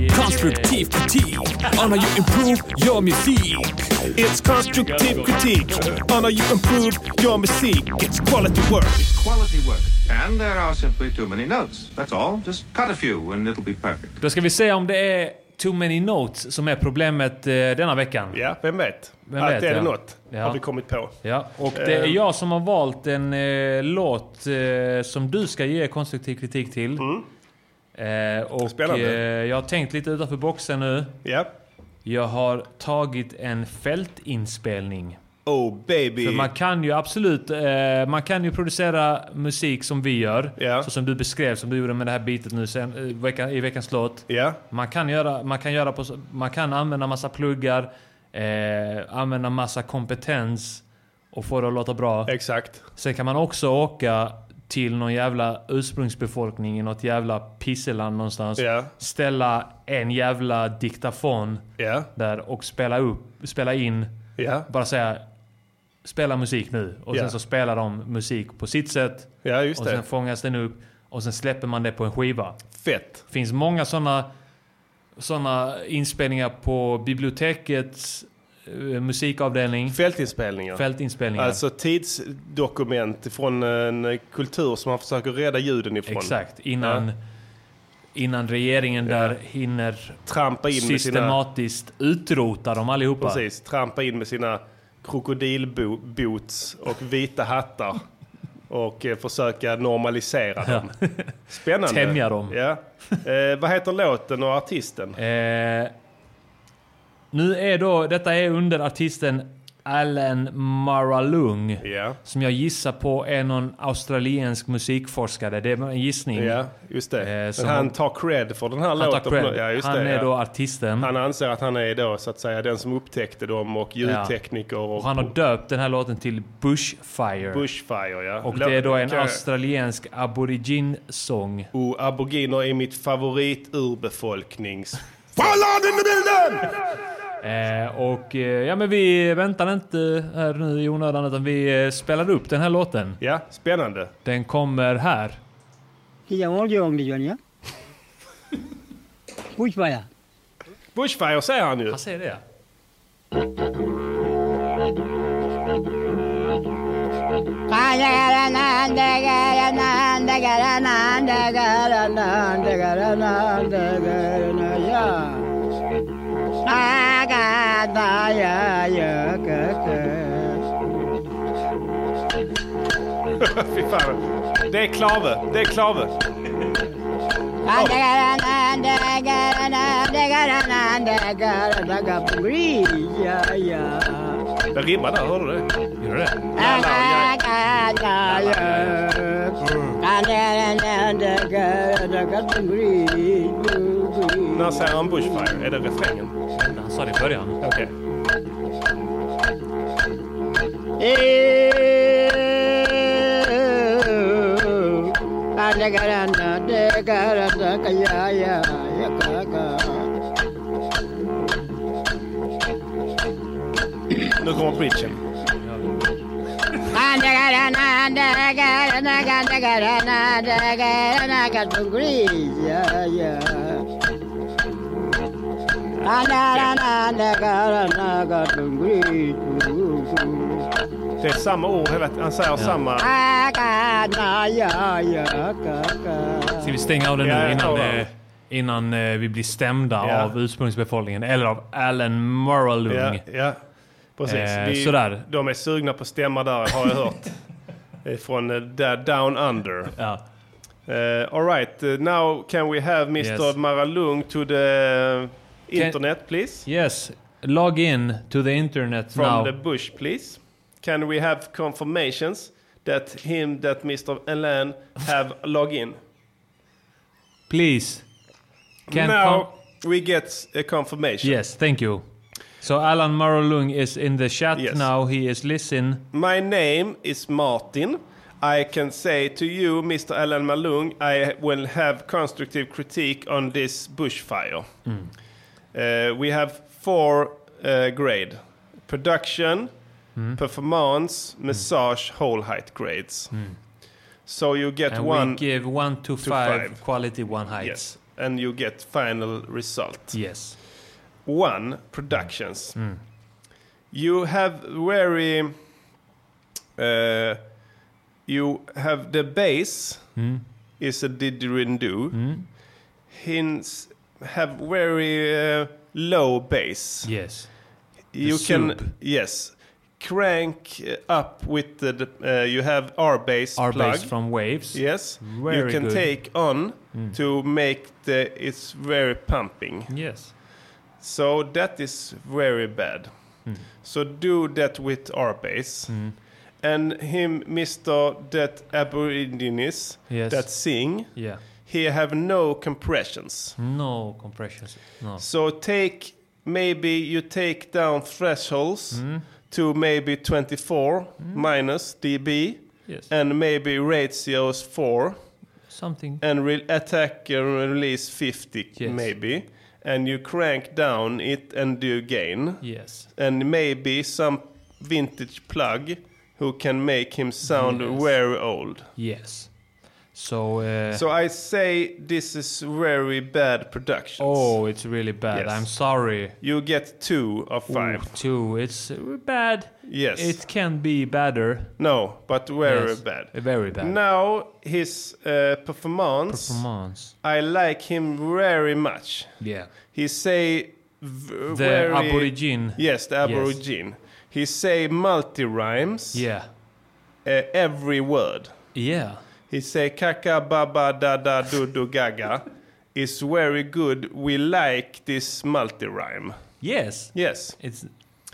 Constructive critique on how you improve your music.
It's constructive critique on how you improve your music. It's quality work.
quality work. And there are simply too many notes. That's all. Just cut a few and it'll be perfect.
Då ska vi se om det är too many notes som är problemet eh, denna veckan.
Ja, vem vet?
Vem
Allt
vet,
är det
ja.
något,
Ja.
har vi kommit på.
Ja, och det
Eh.
är jag som har valt en eh, låt eh, som du ska ge konstruktiv kritik till. Eh, och eh,
Mm. Spännande.
jag har tänkt lite utanför boxen nu.
Ja.
Jag har tagit en fältinspelning.
Oh baby.
För man kan ju absolut, eh, man kan ju producera musik som vi gör.
Ja.
Så som du beskrev, som du gjorde med det här bitet nu sen, eh, vecka, i veckans låt.
Ja,
Man kan, göra, man, kan göra på, så- man kan använda massa pluggar, eh, använda massa kompetens och få det att låta bra.
exakt.
Sen kan man också åka till någon jävla ursprungsbefolkning i något jävla pisseland någonstans.
Ja.
Ställa en jävla diktafon
Ja,
där och spela, upp, spela in.
ja,
Bara säga spela musik nu. Och
Ja.
sen så spelar de musik på sitt sätt.
ja just
och
det.
sen fångas den upp. Och sen släpper man det på en skiva
Fett.
finns många sådana såna inspelningar på bibliotekets eh, musikavdelning.
Fältinspelningar.
Fältinspelningar.
Alltså tidsdokument från en kultur som man försöker rädda ljuden ifrån.
Exakt, innan, innan regeringen där hinner
Trampa in med sina...
systematiskt utrota dem allihopa.
Precis, trampa in med sina krokodilboots och vita hattar. Och eh, försöka normalisera dem. Spännande.
Tämja dem.
Ja. Eh, vad heter låten och artisten?
Eh, nu är då, detta är under artisten Alan Maralung.
Ja,
Som jag gissar på är någon australiensk musikforskare. Det är en gissning.
ja just det.
eh, som-
Men han tar cred för den här
Han, tar
låten. på
cred.
nå- Ja, just
han
det,
är
ja.
då artisten.
han anser att han är då så att säga den som upptäckte dem och ljudtekniker och,
och han har döpt den här låten till Bushfire.
Bushfire. Ja.
och
Lå-
det är då en
kan-
australiensk aborigin-sång.
Och aboriginer är mitt favoriturbefolknings...
Eh, och eh, ja, men vi väntar inte här nu i onödan utan vi eh, spelar upp den här låten.
Ja, spännande.
Den kommer här.
Bushfire säger han ju.
Han säger det.
[LAUGHS] Fy fan. Det är klave. Det är klave. Det rimmar där, hörde du det?
Gör det?
Jalla och jag- När säger han Bushfire? Är det refrängen?
Han sa det i början.
Okej. Nu kommer bridgen. Det är samma ord hela tiden. Han säger samma...
Ska vi stänga av den
Ja,
nu
jag
innan,
tar den.
eh, innan eh, vi blir stämda
Ja.
av ursprungsbefolkningen? Eller av Alan Moralung?
Ja, ja. Precis.
Eh,
Vi-
sådär.
De är sugna på stämma där, har
[LAUGHS]
jag hört. Eh, Från eh, där Down Under.
Ja.
Uh, all right, eh, now can we have Mr.
Yes.
Maralung to the eh, internet, please?
Yes. Log in to the internet
From
now.
the bush, please. Can we have confirmations that him, that Mr. Alan have [LAUGHS] log in?
Please. Can
now
com-
we get a confirmation.
yes, thank you. So Alan Moralung is in the chat
Yes.
now. He is listening.
My name is Martin. I can say to you, Mr. Alan Malung, I will have constructive critique on this bushfire.
Mm.
Uh, we have four uh, grade: production,
Mm.
performance, massage, whole height grades. So you get
Mm. And
one,
we give one to, five,
five.
quality one height.
yes, and you get final result.
Yes.
One Productions. You have very. Uh, you have the bass is a didgeridoo. Hints have very uh, low bass.
Yes.
you
sub.
can yes crank uh, up with the. the, uh, you have R bass
Our
plug.
base from waves.
yes, you
Very
can
good. Mm.
take on to make the. It's very pumping.
Yes.
So that is very bad.
Mm.
So do that with our base. And him, Mr. That Aborigines
Yes.
that sing,
Yeah.
he have no compressions.
Mm. No compressions. No.
So take, maybe you take down thresholds
Mm.
to maybe 24 minus dB
Yes.
and maybe ratios 4
Something.
and re- attack and release 50
Yes.
maybe. And you crank down it and do gain.
Yes.
and maybe some vintage plug who can make him sound
Yes.
very old.
Yes. So, eh,
So I say this is very bad production.
oh, it's really bad.
Yes.
I'm sorry.
You get two of five.
Ooh, two. It's uh, bad.
Yes.
It can be better.
No, but very
Yes.
bad.
Very bad.
Now his uh, performance,
Performance.
I like him very much.
Yeah.
He say v-
The
very,
aborigine.
Yes, the
Yes.
aborigine. He say multi rhymes.
Yeah.
Uh, every word.
Yeah.
He say kaka baba da da do do gaga. It's very good. We like this multi rhyme.
Yes.
Yes.
It's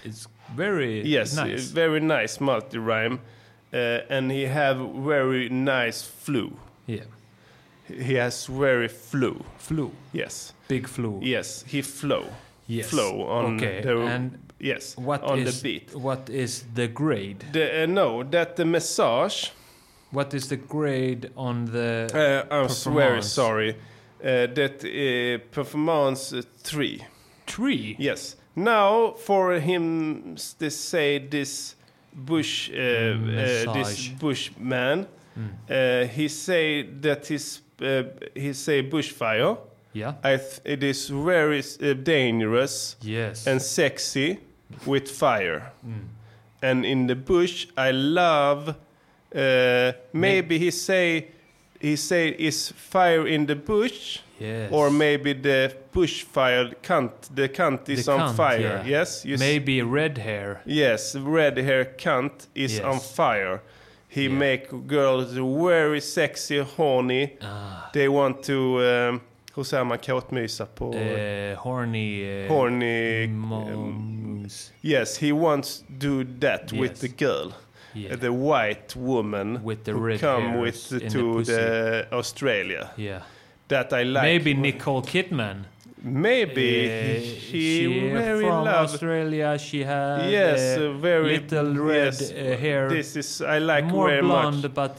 it's very
Yes,
nice.
uh, very nice multi rhyme, uh, and he have very nice flu.
yeah.
He has very flu.
Flu.
Yes,
Big flu.
yes, he flow.
Yes.
flow on
Okay,
the
and
yes
What
on
is-
the beat.
What is the grade?
The, uh, no, that the massage.
What is the grade on the
Uh, I'm very
performance?
sorry. Uh, that uh, performance uh, three.
tree?
Yes. Now for him s- they say this bush uh, uh, this
massage. Mm.
bush man uh, he say that his uh, he say bushfire
Yeah.
I th- it is very s- uh, dangerous
yes.
and sexy with fire and in the bush I love uh, maybe he say he say is fire in the bush
yes.
or maybe the bush fire cunt, the cunt is
The
on
cunt,
fire.
yeah.
Yes, you s-
maybe red hair.
yes, red hair cunt is
Yes.
on fire. He make girls very sexy, horny.
Ah.
They want to, um, hur säger man kåtmysa på?
Uh, horny. Uh,
horny. um,
Moms.
Yes, he wants do that with
Yes.
the girl.
Yeah.
The white woman
With the
who
red
come with
hairs
the,
in the
to
pussy.
the Australia.
yeah.
That I like.
maybe Nicole Kidman.
Maybe
Uh,
he- she,
she
very
from
love
Australia. She has
Yes,
uh,
uh, very
little red
yes,
uh, hair.
This is I like
more
very
blonde,
much.
but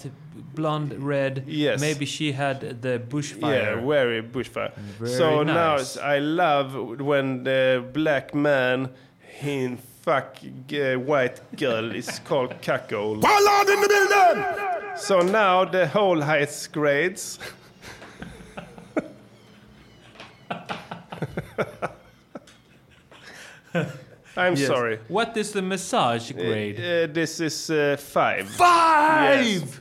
blonde red.
Yes.
Maybe she had the
Yeah,
bushfire.
very bushfire.
Very
so now
nice.
it's- I love when the black man he fuck uh, white girl is called cuckold.
Ballad in the building!
So now the whole heights
[LAUGHS]
grades. I'm
Yes.
sorry.
What is the massage grade?
Uh, this is uh, five.
Five.
Yes.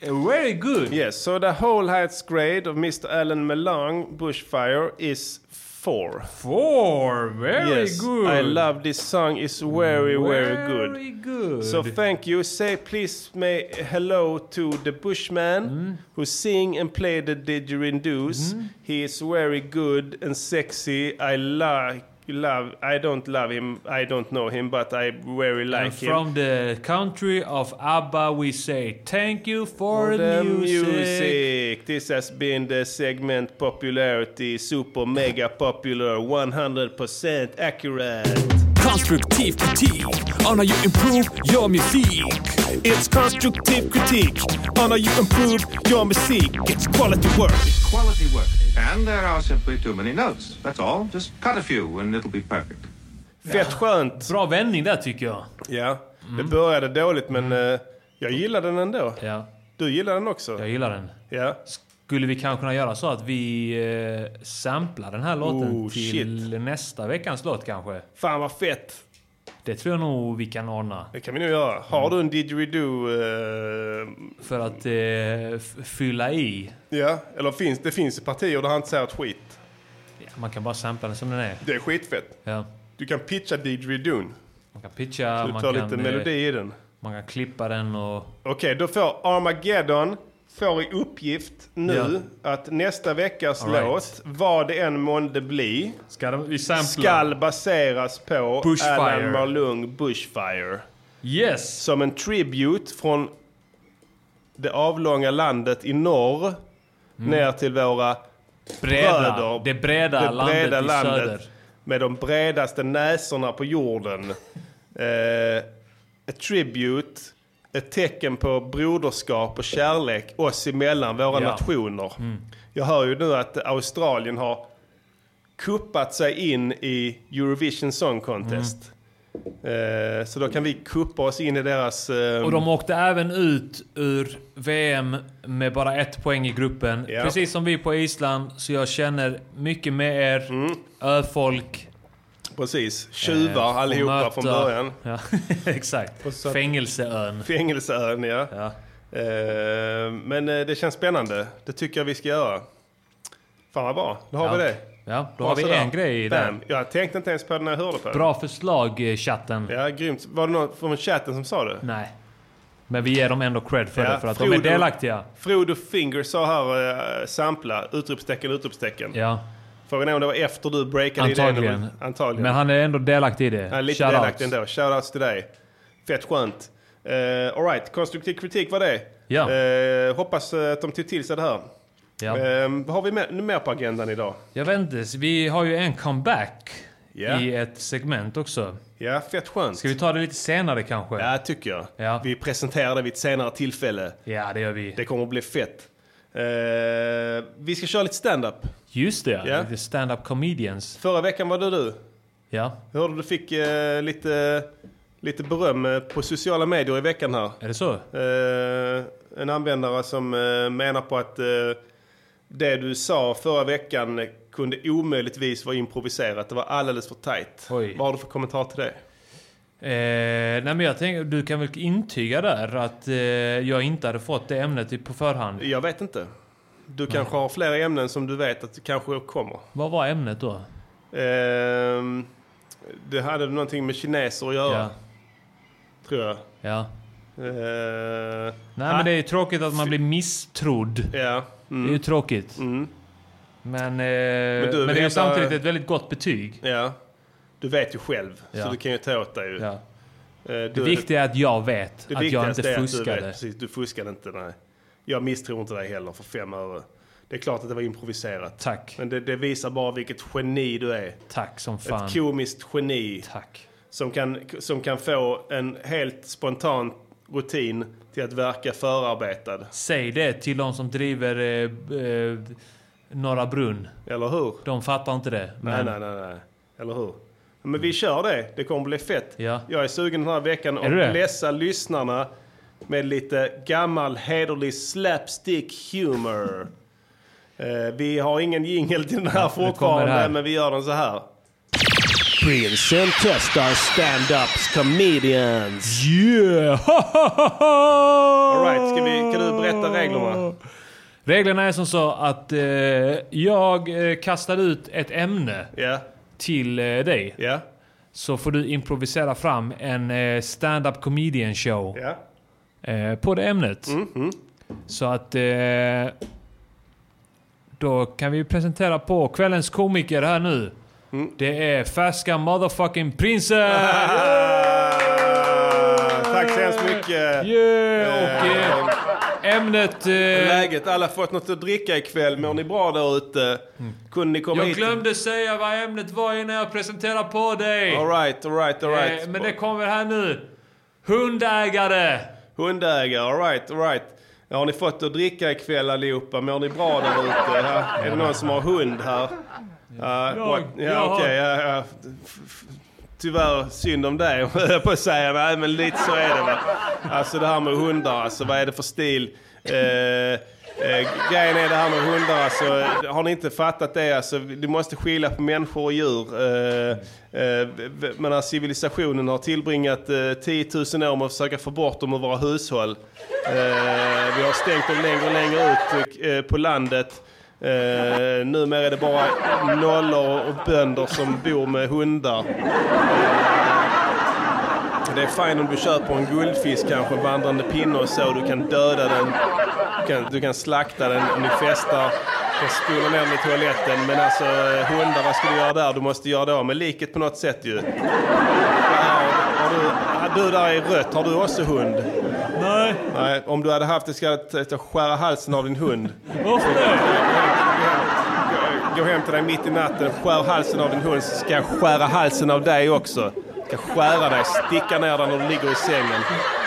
eh,
Uh, Very good.
Yes, so the whole heights grade of Mr. Alan Melang Bushfire is four.
Four. Very
yes,
good.
I love this song. It's very, very, good.
Very good.
So thank you. Say please may hello to the Bushman who sing and play the didgeridoos. He is very good and sexy. I like love. I don't love him. I don't know him, but I very like
and
him.
from the country of ABBA, we say thank you for,
the
the music.
music. This has been the segment popularity, super mega popular, 100% accurate.
Konstruktiv kritik on how you improve your music.
It's constructive critique on how you improve your music. It's quality work.
Quality work. And there are simply too many notes. That's all. Just cut a few and it'll be perfect.
Fett skönt.
Bra vändning där tycker jag.
Ja, det började dåligt men eh, jag gillar den ändå.
Mm. Ja,
Du gillar den också?
jag gillar den.
Ja.
Skulle vi kanske kunna göra så att vi eh, samplar den här låten
Oh,
till nästa veckans låt kanske?
Fan vad fett.
Det tror jag nog vi kan ordna.
Det kan vi nog göra. Har du en didgeridoo? eh,
För att eh, f- fylla i.
ja, eller finns, det finns partier där han inte säger ett skit.
Ja, man kan bara sampla den som den är.
Det är skitfett.
Ja.
Du kan pitcha didgeridoon.
Man kan pitcha,
Du
man
tar
kan,
lite
eh,
melodi i den.
man kan klippa den och...
Okej, då får Armageddon får i uppgift nu att nästa veckas
All right.
låt, vad det än månde bli,
Ska vi sampla?
skall baseras på
Bushfire.
Alan Marlung Bushfire.
Yes!
Som en tribute från det avlånga landet i norr
Mm.
ner till våra
Breda,
bröder.
det breda
det
landet
breda
i
landet
söder.
med de bredaste näsorna
[LAUGHS]
på jorden. eh, a tribute, ett tecken på broderskap och kärlek oss emellan våra
Ja. Mm.
nationer. Jag hör ju nu att Australien har kuppat sig in i Eurovision Song Contest. Eh, Så då kan vi kuppa oss in i deras... eh,
Mm. Och de åkte även ut ur VM med bara ett poäng i gruppen.
Ja.
Precis som vi på Island, så jag känner mycket med er.
Mm.
Öfolk.
Precis. Tjuvar
Eh, och
allihopa
möta-
från början.
Ja, [LAUGHS] exakt. Fängelseön.
Fängelseön, ja. Eh, Men eh, det känns spännande. Det tycker jag vi ska göra. Fan vad bra. Då har
Ja.
vi det.
Ja, då
Bra
har vi
sådär.
en grej där.
Bam. Jag tänkte inte ens på det när jag hörde på det.
Bra förslag, eh, chatten.
Ja, grymt. Var det någon från chatten som sa det?
Nej. Men vi ger dem ändå cred för
Ja,
det, för att de är
Frodo-
delaktiga.
Frodo Finger sa här, eh, sampla, utropstecken, utropstecken.
Ja,
Frågan är om det var efter du breakade
antagligen.
idén. Antagligen.
Men han är ändå delaktig i det.
Ja, lite
Shout
delaktig
outs.
ändå. Shoutouts till dig. Fett skönt. Uh, Alright, konstruktiv kritik var det.
Ja.
Eh, hoppas eh, att de tog till sig det här.
Ja.
Eh, vad har vi mer, mer på agendan idag?
Jag vet inte, vi har ju en comeback
Ja.
i ett segment också.
Ja, fett skönt.
Ska vi ta det lite senare kanske?
Ja, tycker jag.
Ja.
Vi presenterar det vid ett senare tillfälle.
Ja, det gör vi.
Det kommer att bli fett. Eh, vi ska köra lite stand-up.
Just det,
Ja.
lite stand-up comedians.
Förra veckan var det du.
Ja,
Jag hörde du fick eh, lite, lite beröm eh, på sociala medier i veckan här.
är det så?
Eh, en användare som eh, menar på att eh, det du sa förra veckan kunde omöjligtvis vara improviserat. Det var alldeles för tajt.
Oj.
Vad har du för kommentar till det?
Eh, nej men jag tänker, du kan väl intyga där att eh, jag inte hade fått det ämnet i- på förhand.
Jag vet inte. Du kanske har flera ämnen som du vet att du kanske kommer.
Vad var ämnet då?
Ehm, det hade någonting med kineser att göra,
Ja.
tror jag.
ja.
Ehm,
Nej men det är ju tråkigt att man blir misstrodd.
ja.
Det är ju tråkigt. Men, eh, men,
Mm. du
det är ju
vet,
samtidigt
eh,
ett väldigt gott betyg.
ja. Du vet ju själv,
Ja.
så du kan ju ta åt dig. Ju.
Ja.
Ehm,
Det
du-
viktiga är att jag vet
Det
att jag
viktigaste
inte
är att Du,
fuskade.
vet, precis, du fuskade inte, nej. Jag misstror inte dig heller för fem öre. Det är klart att det var improviserat.
Tack.
Men det, det visar bara vilket geni du är.
Tack som fan.
Ett komiskt geni
Tack.
som kan, som kan få en helt spontan rutin till att verka förarbetad.
Säg det till de som driver eh, eh, Norra Brunn.
Eller hur?
De fattar inte det.
Nej,
Men
nej, nej, nej. Eller hur? Men vi kör det. Det kommer bli fett.
Ja.
Jag är sugen den här veckan
du det?
att läsa lyssnarna med lite gammal hederlig slapstick humor. Eh, vi har ingen jingel till den här
kommer
fortfarande,
det här.
men vi gör den så här.
Prinsen testar stand-ups comedians.
Yeah! [LAUGHS] All
Alright, ska vi, kan du berätta reglerna?
Reglerna är som så att eh, jag eh, kastar ut ett ämne
Ja,
till eh, dig.
ja,
Så får du improvisera fram en eh, stand-up comedian show
ja.
eh, på det ämnet. Så att... Eh, då kan vi presentera på kvällens komiker här nu. Det är färska motherfucking prinsen!
Ah, tack så hemskt mycket.
Yeah! Och eh, ämnet... Eh,
Läget? Alla fått något att dricka ikväll? Mår ni bra där ute? Kunde ni komma
Mm. jag
hit?
glömde säga vad ämnet var innan jag presenterade på dig.
Alright, alright, alright.
Eh, men det kommer här nu. Hundägare!
Hundägare, alright, alright. Har ni fått att dricka ikväll allihopa? Mår ni bra där ute? Ja, Är det någon som har hund här? Ja, Eh, what-
jag
ja
har-
okej. ja, ja. F- f- Tyvärr synd om dig, [LAUGHS] höll jag på att säga. Nej, men lite så är det va. Alltså det här med hundar, alltså vad är det för stil? Eh, eh, grejen är det här med hundar, alltså, har ni inte fattat det? Alltså, du måste skilja på människor och djur. Eh, eh, v- v- men här, civilisationen har tillbringat eh, 10 000 år med att försöka få bort dem ur våra hushåll. Eh, vi har stängt dem längre och längre ut eh, på landet. Eh, numera är det bara nollor och bönder som bor med hundar. Eh, Det är fint om du köper en guldfisk kanske, en vandrande pinne och så. Du kan döda den, du kan, du kan slakta den, ni festar, du kan spola ner den i toaletten. Men alltså eh, hundar, vad ska du göra där? Du måste göra det av med liket på något sätt ju. Ja, har du, har du där i rött, har du också hund?
Nej,
Nej, om du hade haft det ska jag t- skära halsen av din hund.
varför det?
Gå hem till dig mitt i natten, skär halsen av din hund så ska jag skära halsen av dig också. Ska skära dig, sticka ner dig när du ligger i sängen.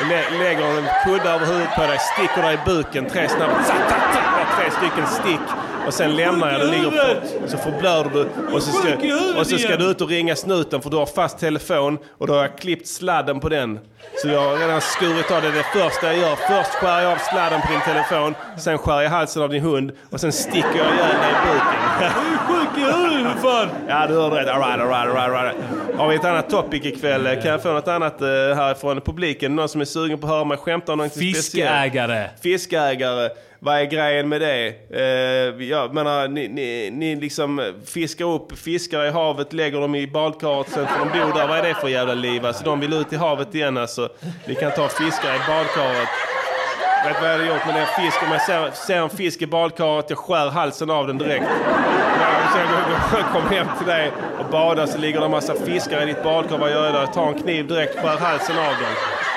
Lä- lägger en kudde över huvudet på dig, sticker dig i buken tre snabba... Tack, tack, tack, bara tre stycken stick. och sen lämnar jag den ligger på,
huvudet!
så förblöder du och så, ska,
Sjuk i huvudet
och så ska
igen!
du ut och ringa snuten för du har fast telefon och då har jag klippt sladden på den. Så jag har redan skurit av det. Det är det första jag gör. Först skär jag av sladden på din telefon, sen skär jag halsen av din hund och sen sticker jag ihjäl dig i buken.
Du är sjuk i huvudet för fan!
Ja, du hörde rätt. All right, all right, all right, all right. Har vi ett annat topic ikväll? Kan jag få något annat eh, här från publiken? Någon som är sugen på att höra mig skämta om något speciellt?
Fiskägare.
Fiskägare, vad är grejen med det? Eh, jag menar, ni, ni, ni liksom fiskar upp fiskar i havet, lägger dem i badkaret, sen får de bo där. Vad är det för jävla liv? Alltså, de vill ut i havet igen alltså. Ni kan ta fiskar i badkaret. Vet vad jag hade gjort med den fisken? Om jag ser, ser en fisk i badkaret, jag skär halsen av den direkt. Ja, Så jag går- går- kommer hem till dig och badar så ligger det en massa fiskar i ditt badkar. Vad gör jag då? Jag tar en kniv direkt, skär halsen av dem.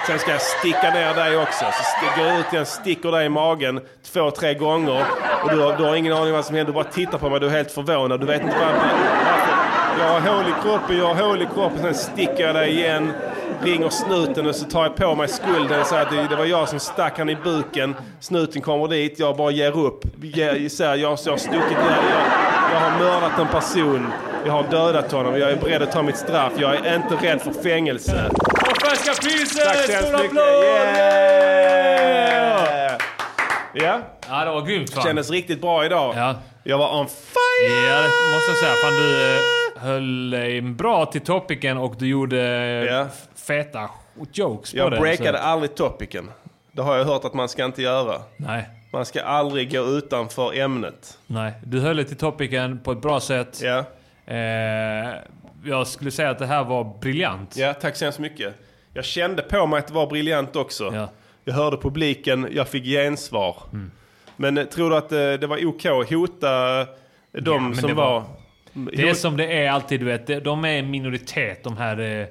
Sen ska jag sticka ner dig också. Så st- går jag ut igen, sticker dig i magen två, tre gånger. Och du har, du har ingen aning vad som händer. Du bara tittar på mig, du är helt förvånad. Du vet inte vad... varför- Jag har hål i kroppen, jag har hål i kroppen. Sen sticker jag dig igen, ringer snuten och så tar jag på mig skulden. Så att det, det var jag som stack han i buken. Snuten kommer dit, jag bara ger upp. Ger, så här, jag, jag har stuckit ihjäl, jag, jag har mördat en person. Jag har dödat honom, jag är beredd att ta mitt straff. Jag är inte rädd för fängelse.
Och färska priset!
Tack så
Stora
hemskt mycket!
applåder!
Yeah! Ja,
Ja, det var grymt fan.
kändes riktigt bra idag.
Ja.
Jag var on fire!
Ja, det måste jag säga. Fan, du eh, höll dig bra till topicen och du gjorde
Ja.
yeah. feta jokes på
Jag
det.
breakade
så-
aldrig topicen. Det har jag hört att man ska inte göra.
Nej,
Man ska aldrig gå utanför ämnet.
nej. Du höll dig till topicen på ett bra sätt.
Ja,
Eh, jag skulle säga att det här var briljant.
ja tack så hemskt mycket. Jag kände på mig att det var briljant också.
Ja. Mm.
Jag hörde publiken, jag fick gensvar. Men eh, tror du att eh, det var OK att hota eh, de
men
som
det
var... Mm,
var- Det är som det är alltid, du vet. De- De är en minoritet, de här, eh,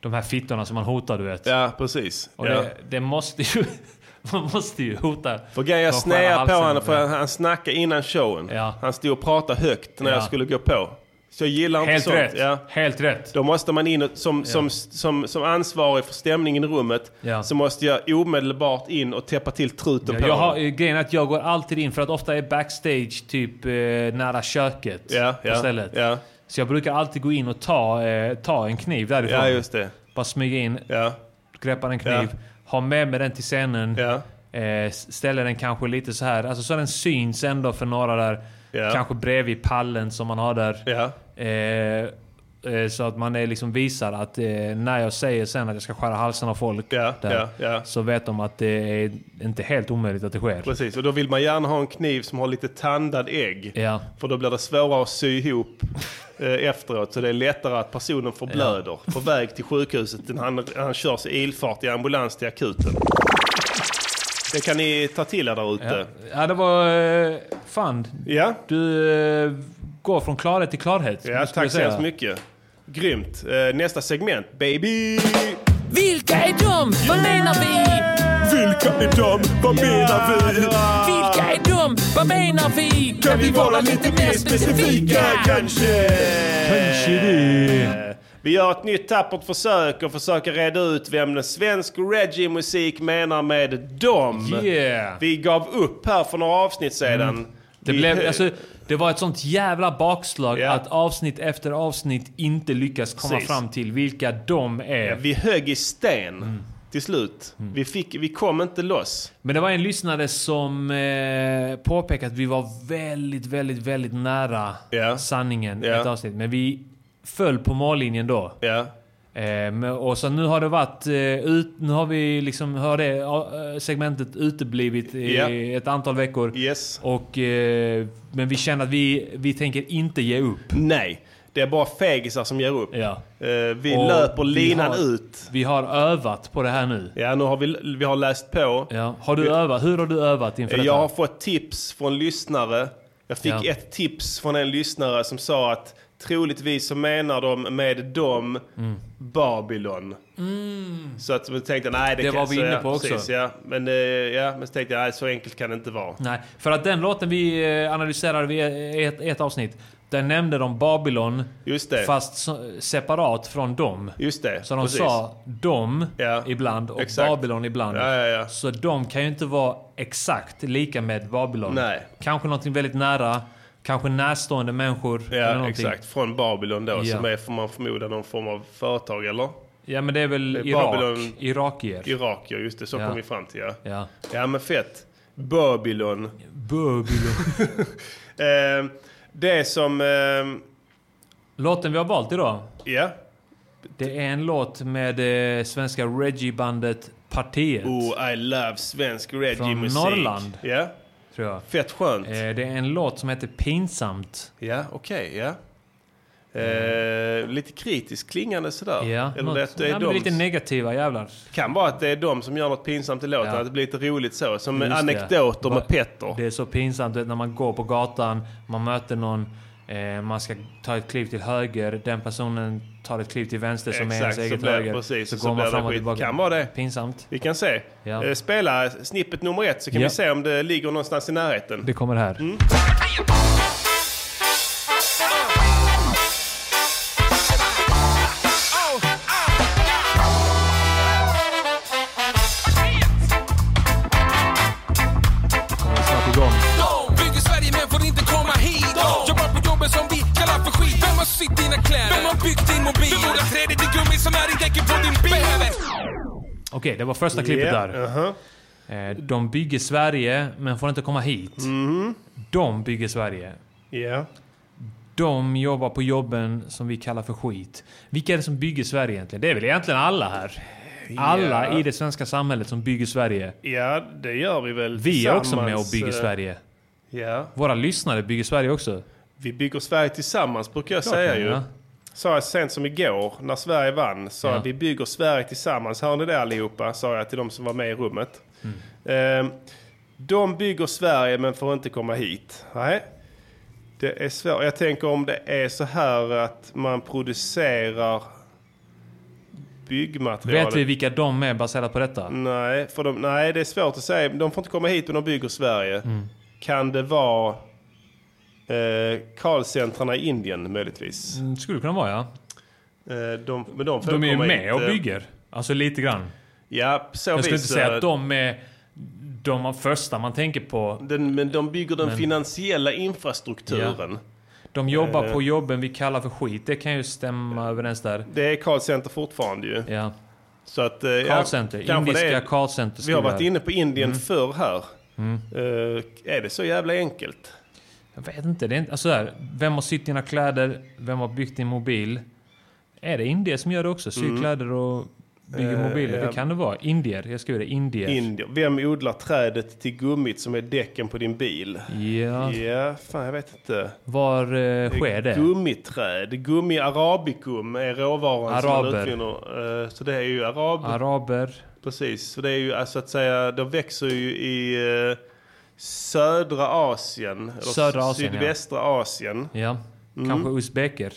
de här fittorna som man hotar, du vet.
Ja, precis.
Och
Ja.
det, det måste ju... [LAUGHS] Man måste ju hota.
För grejen, jag
de skära
snäade på
halsen.
honom för han, han snackade innan showen.
Ja.
Han stod och pratade högt när
Ja.
jag skulle gå på. Så jag gillar inte
Helt
sånt.
rätt.
Ja.
Helt rätt.
Då måste man in och, som, som, som, som ansvarig för stämningen i rummet
Ja.
så måste jag omedelbart in och täppa till truten på
Jag har,
dem.
eh, grejen är att jag går alltid in för att ofta är backstage typ eh, nära köket
Ja,
på
ja,
stället.
ja.
Så jag brukar alltid gå in och ta, eh, ta en kniv därifrån.
Ja, just det.
Bara smyga in,
Ja,
greppa en kniv,
Ja.
ha med mig den till scenen.
ja.
Eh, s- ställer den kanske lite så här, alltså så den syns ändå för några där.
Ja.
Kanske bredvid pallen som man har där.
Ja.
Eh, eh, så att man är liksom visar att eh, när jag säger sen att jag ska skära halsen av folk
Ja,
där,
ja, ja.
så vet de att det är inte helt omöjligt att det sker.
Precis, och då vill man gärna ha en kniv som har lite tandad ägg.
Ja.
För då blir det svårare att sy ihop eh, efteråt. Så det är lättare att personen förblöder på väg till sjukhuset. än Han, han körs i ilfart i ambulans till akuten. Det kan ni ta till er där
Ja.
ute.
ja, det var... Eh, fan,
Ja.
du eh, går från klarhet till klarhet. skulle
Ja,
jag
tack så
säga.
hemskt mycket. Grymt. Eh, nästa segment, baby!
Vilka är de? Vad menar vi?
Vilka är de? Vad menar vi?
Vilka är de? Vad menar vi?
Kan vi vara lite mer specifika kanske?
Eh, Vi gör ett nytt tappert försök och försöker reda ut vem den svensk reggae-musik menar med dom.
Yeah. Mm.
Vi gav upp här för några avsnitt sedan.
Det,
Eh, Vi-
blev, alltså, det var ett sånt jävla bakslag
Ja.
att avsnitt efter avsnitt inte lyckas komma
Precis.
fram till vilka de är.
vi högg i sten
Mm.
till slut. Vi, fick, vi kom inte loss.
Men det var en lyssnare som eh, påpekade att vi var väldigt, väldigt, väldigt nära
Ja.
sanningen i
Ja.
ett avsnitt. Men vi föll på mållinjen då.
Ja.
Eh, men- och så nu har det varit... Eh, ut, nu har vi liksom... Har det eh, segmentet uteblivit i
Ja.
ett antal veckor.
Yes.
Och, eh, men vi känner att vi, vi tänker inte ge upp.
Nej, det är bara fegisar som ger upp.
Ja.
Eh, vi
Och
löper
vi
linan
har-
ut.
Vi har övat på det här nu.
Ja, nu har vi, vi har läst på.
Ja. Har du
Vi-
övat? Hur har du övat inför detta?
Jag har fått tips från lyssnare. Jag fick
Ja.
ett tips från en lyssnare som sa att troligtvis så menar de med dem
Mm.
Babylon. Så att man tänkte nej det,
Det
kan,
var vi
så,
inne
ja,
på också.
Precis, ja. Men, eh, ja, men så tänkte jag
Mm.
nej så enkelt kan det inte vara.
Nej, för att den låten vi eh, analyserade vid ett, ett avsnitt. Där nämnde de Babylon,
Just det.
fast så- separat från dem.
Just det,
Så de
precis.
sa dem ibland och
exakt.
Babylon ibland.
Ja, ja, ja.
Så de kan ju inte vara exakt lika med Babylon.
Nej.
Kanske någonting väldigt nära, kanske närstående människor. eller
Ja,
någonting.
exakt. Från Babylon då,
Ja.
som är, får man förmoda, någon form av företag, eller?
Ja, men det är väl
Eh,
Irak. Irakier.
Irakier, just det. Så
Ja.
kom vi fram till, ja.
Ja.
Ja, men fett. Babylon.
Babylon.
eh, det som... Eh,
Låten vi har valt idag.
Ja.
Det är en låt med eh, svenska reggae-bandet Partiet.
oh, I love svensk
Från
reggae-musik.
Norrland.
Ja.
Tror jag.
Fett skönt.
Eh, det är en låt som heter Pinsamt.
Ja, okej, ja. Eh, lite kritiskt klingande sådär.
Ja,
Eller
något-
att det
ja,
är
men
de...
lite negativa jävlar.
Kan vara att det är de som gör något pinsamt i låten. Att det blir lite roligt så. Som
Just det.
anekdoter
Va-
med Petter.
Det är så pinsamt du vet, när man går på gatan, man möter någon, eh, man ska ta ett kliv till höger, den personen tar ett kliv till vänster som är ens
så
eget
blir-
höger.
Precis,
så går
så,
man
blir
fram
det
och
skit.
tillbaka.
Kan vara det.
Pinsamt.
Vi kan se.
Ja.
Eh, Spela snippet nummer ett så kan
Ja.
vi se om det ligger någonstans i närheten.
Det kommer här.
Mm.
Då Bygger Sverige men får inte komma hit. Jobbar på jobbet som vi kallar för skit. Vem har sytt dina kläder? Vem har byggt din mobil? Vem vårdar trädet i gummi som är i däcken på din bil? Behöver
Okej, det var första klippet
Yeah,
där. Eh, De bygger Sverige, men får inte komma hit.
Mm-hmm.
De bygger Sverige.
Ja.
De jobbar på jobben som vi kallar för skit. Vilka är det som bygger Sverige egentligen? Det är väl egentligen alla här? Alla
Ja.
i det svenska samhället som bygger Sverige.
ja, det gör vi väl
Vi är också med och
tillsammans,
bygger
eh,
Sverige.
Ja.
Våra lyssnare bygger Sverige också.
Vi bygger Sverige tillsammans brukar jag
Klart
säga
vi gör.
ju. Sa jag sent som igår när Sverige vann. Sa
Ja.
jag vi bygger Sverige tillsammans. Hör ni det allihopa? Sa jag till de som var med i rummet. Eh, de bygger Sverige men får inte komma hit. Nej. Det är svårt. Jag tänker om det är så här att man producerar byggmaterial.
Vet vi vilka de är baserat på detta?
Mm. Nej, för de, nej, det är svårt att säga. De får inte komma hit men de bygger Sverige.
Mm.
Kan det vara eh, Karlcentrarna i Indien möjligtvis?
Mm, Skulle kunna vara ja.
Eh, de, men de får
De är ju
komma
med
hit,
och
eh,
bygger. Alltså lite grann.
Ja, på så
Jag
vis.
skulle inte säga
eh,
att de är de av första man tänker på.
Den, men de bygger den
Men-
finansiella infrastrukturen.
De jobbar
Eh.
på jobben vi kallar för skit. Det kan ju stämma överens där.
Det är Karlcenter fortfarande ju.
Ja.
Så att, eh, ja,
Callcenter.
kanske det är-
Indiska callcenter
Vi har
skulle
varit
jag-
inne på Indien
Mm.
förr här.
Mm.
Eh, är det så jävla enkelt?
Jag vet inte. Det är inte alltså där, vem har sytt dina kläder? Vem har byggt din mobil? Är det indier som gör det också? Syr
Mm.
kläder och bygger
Eh,
mobiler?
ja.
Det kan det vara. Indier. Jag skriver det. Indier.
Indier. Vem odlar trädet till gummit som är däcken på din bil?
Ja.
Ja, fan jag vet inte.
Var eh, sker det?
Gummiträd. Gummi arabicum är råvaran som
Araber.
man utvinner. Eh, Så det är ju arab...
Araber.
Precis. Så det är ju eh, så att säga, de växer ju i eh, södra Asien. Eller
Södra Asien, ja.
sydvästra Asien.
Ja.
Mm.
Kanske uzbeker.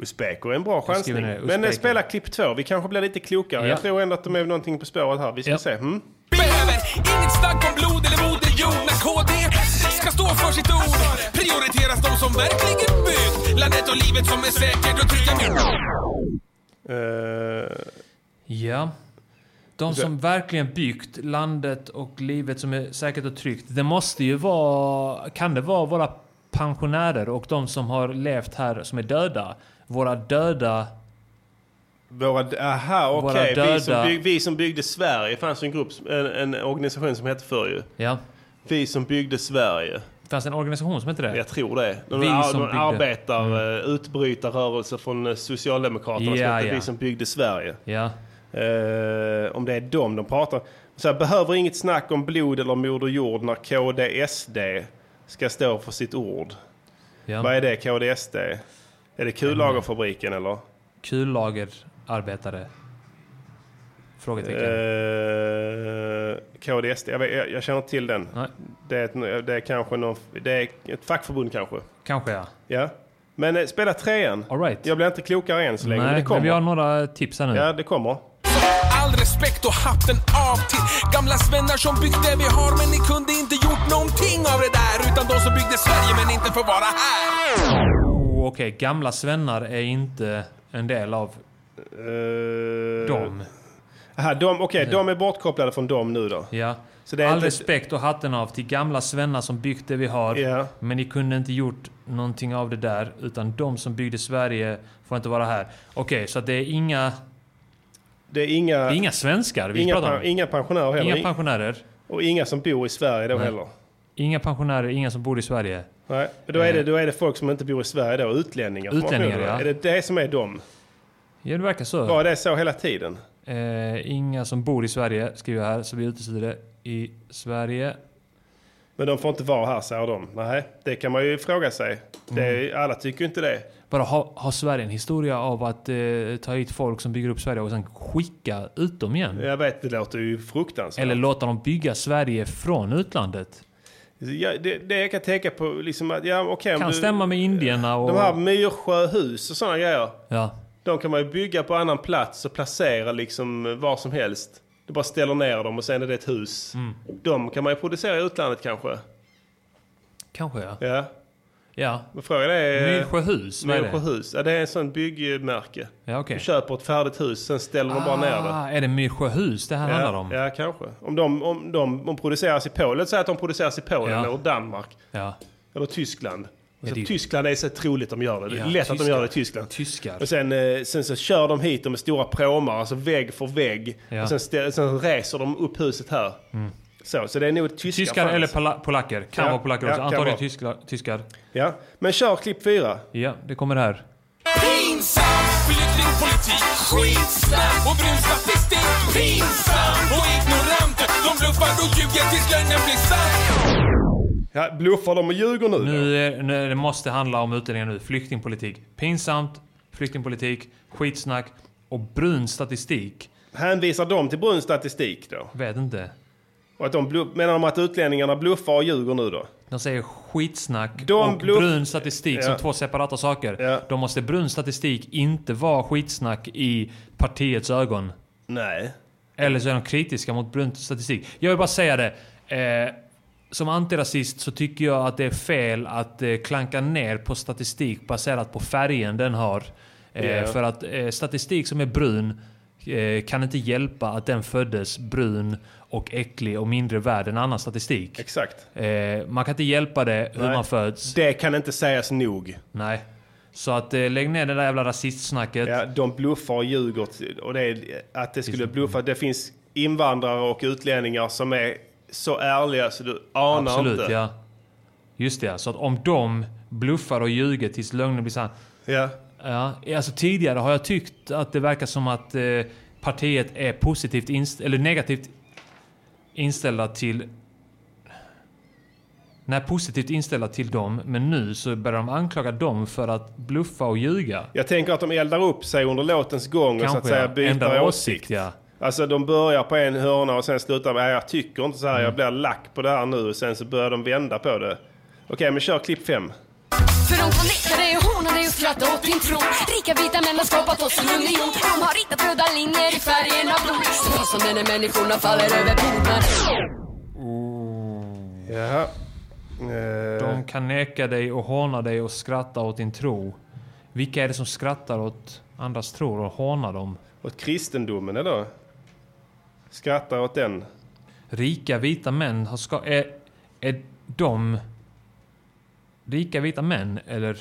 Uzbeker är en bra chansning.
skriver ner
Men eh,
uzbeker.
spela klipp två. Vi kanske blir lite klokare.
Ja.
Jag tror ändå att de är någonting på spåret här. Vi ska
Ja.
se. Mm.
inget snack om blod eller moder jord. När KD ska stå för sitt ord prioriteras de som verkligen byggt landet och livet som är säkert och trygga
Eh,
Ja. De som verkligen byggt landet och livet som är säkert och tryggt. Det måste ju vara... Kan det vara våra pensionärer och de som har levt här som är döda? Våra döda...
Våra, d- aha,
Våra
okej. Vi, som
döda-
bygg- vi som byggde Sverige fanns ju en grupp, en, en organisation som hette förr ju.
Ja.
Vi som byggde Sverige.
Fanns det en organisation som heter det?
Jag tror det. De,
Vi
ar,
som
de
byggde.
arbetar, mm. utbrytarrörelse från eh, Socialdemokraterna som
Ja,
hette
ja.
Vi som byggde Sverige.
Ja.
Eh, om det är dem de pratar. Så här, behöver inget snack om blod eller moder jord när KDSD ska stå för sitt ord.
ja.
Vad är det KDSD? Är det kullagerfabriken eller?
Kullagerarbetare? Frågetecken.
Eh, KDSD, jag, vet, jag, jag känner inte till den.
Nej.
Det är, ett, det är kanske någon, det är ett fackförbund kanske.
Kanske ja.
Ja. Men eh, spela trean.
All right.
Jag blir inte klokare än så länge, men
Nej,
det kommer.
men vi har några tips här nu.
Ja, det kommer.
All respekt och hatten av till gamla svennar som byggt det vi har men ni kunde inte gjort någonting av det där utan de som byggde Sverige men inte får vara här.
Oh, okej, gamla svennar är inte en del av
Eh,
dem.
Aha, de, okej, de är bortkopplade från dem nu då.
Ja.
Så det är
All
inte-
respekt och hatten av till gamla svennar som byggt det vi har.
Ja.
Men ni kunde inte gjort någonting av det där. Utan de som byggde Sverige får inte vara här. Okej, så att det är inga...
Det är inga...
Det är inga svenskar vi
inga,
pratar
pen-
om.
inga pensionärer heller.
Inga pensionärer.
Och inga som bor i Sverige då
Nej.
heller.
Inga pensionärer, inga som bor i Sverige.
Nej, men då är, det, då är det folk som inte bor i Sverige då, utlänningar. som har
Utlänningar,
pensioner.
ja.
Är det det som är dem?
Ja, det verkar så.
Var det så hela tiden?
Eh, inga som bor i Sverige, skriver jag här, så vi utesluter det. I Sverige.
Men de får inte vara här, säger de. Nej, det kan man ju fråga sig. Det är,
Mm.
alla tycker ju inte det.
Bara har, har Sverige en historia av att eh, ta hit folk som bygger upp Sverige och sen skicka ut dem igen?
Jag vet, det låter ju fruktansvärt.
Eller låta dem bygga Sverige från utlandet?
Ja, det, det jag kan tänka på, liksom att, ja okej. om
Kan
du-
stämma med indierna och...
De här Myrsjöhus och sådana grejer.
Ja.
De kan man ju bygga på annan plats och placera liksom var som helst. Du bara ställer ner dem och sen är det ett hus.
Mm.
De kan man ju producera i utlandet kanske.
Kanske ja.
Ja.
Ja.
Men frågan är... eh,
Myrsjöhus, vad är det?
Myrsjöhus. Ja, det är en sån byggmärke.
Ja, okej.
Du köper ett färdigt hus, sen ställer de bara ner det.
Ah, är det Myrsjöhus det här Ah, handlar om?
Ja, kanske. Om de, om de om produceras i Polen, låt säga att de produceras i Polen
Ja.
eller Danmark.
Ja.
Eller Tyskland. Och
Ja,
så
det är ju-
Tyskland är så troligt de gör det. Det är
Ja,
lätt att de
tyskar.
gör det i Tyskland.
Tyskar.
Och sen, eh, sen så kör de hit dem med stora pråmar, alltså vägg för vägg.
Ja.
Och sen, stä- sen reser de upp huset här. Så, så det är nog tyskar.
Tyskar
faktiskt.
eller pola- polacker. Kan
Ja,
vara polacker
ja,
också.
kan
Antagligen
vara.
tyskla- tyskar.
Ja, men kör klipp fyra.
Ja, det kommer här.
Pinsamt, flyttning, politik, skitsnack och brun statistik. Pinsamt och ignorant, de bluffar och ljuger tills lögnen blir sann.
Ja, bluffar de och ljuger nu?
Nu, är, nu är det måste handla om utlänningar nu. Flyktingpolitik. Pinsamt, flyktingpolitik, skitsnack och brun statistik.
Hänvisar de till brun statistik då?
Vet inte.
Och att de bluff, menar de att utlänningarna bluffar och ljuger nu då?
De säger skitsnack
De
och
bluff-
brun statistik som
Ja.
två separata saker.
Ja.
Då måste brun statistik inte vara skitsnack i partiets ögon.
Nej.
Eller så är de kritiska mot brun statistik. Jag vill bara säga det. Eh, som antirasist så tycker jag att det är fel att eh, klanka ner på statistik baserat på färgen den har. Eh,
Ja.
För att eh, statistik som är brun eh, kan inte hjälpa att den föddes brun och äcklig och mindre värd än annan statistik.
Exakt.
Eh, man kan inte hjälpa det hur
Nej.
man föds.
Det kan inte sägas nog.
Nej. Så att eh, lägg ner det där jävla rasistsnacket.
Ja, de bluffar och ljuger. till- Och det är, att det skulle bluffa. Det finns invandrare och utlänningar som är så ärliga så du anar
Absolut,
inte.
ja. Just det, ja. så att om de bluffar och ljuger tills lögnen blir sann.
Ja.
Ja, alltså tidigare har jag tyckt att det verkar som att eh, partiet är positivt inst- eller negativt inställda till... Nej, positivt inställda till dem, men nu så börjar de anklaga dem för att bluffa och ljuga.
Jag tänker att de eldar upp sig under låtens gång och så att
Kanske,
säga
ja.
byter
Ändrar
åsikt.
åsikt, ja.
Alltså de börjar på en hörna och sen slutar med "Nej, jag tycker inte så här,
Mm.
jag blir lack på det här nu. Och sen så börjar de vända på det. Okej, men kör klipp fem.
För de kan neka dig och håna dig och skratta åt din tro Rika vita män har skapat oss en union De har ritat röda linjer i färgen av blod Så fastnar när människorna faller över bord men...
Jaha. Eh,
De kan neka dig och håna dig och skratta åt din tro. Vilka är det som skrattar åt andras tro och hånar dem?
Åt kristendomen eller? Skrattar åt den.
Rika vita män har ska... Är, är de... Rika vita män, eller? Eh,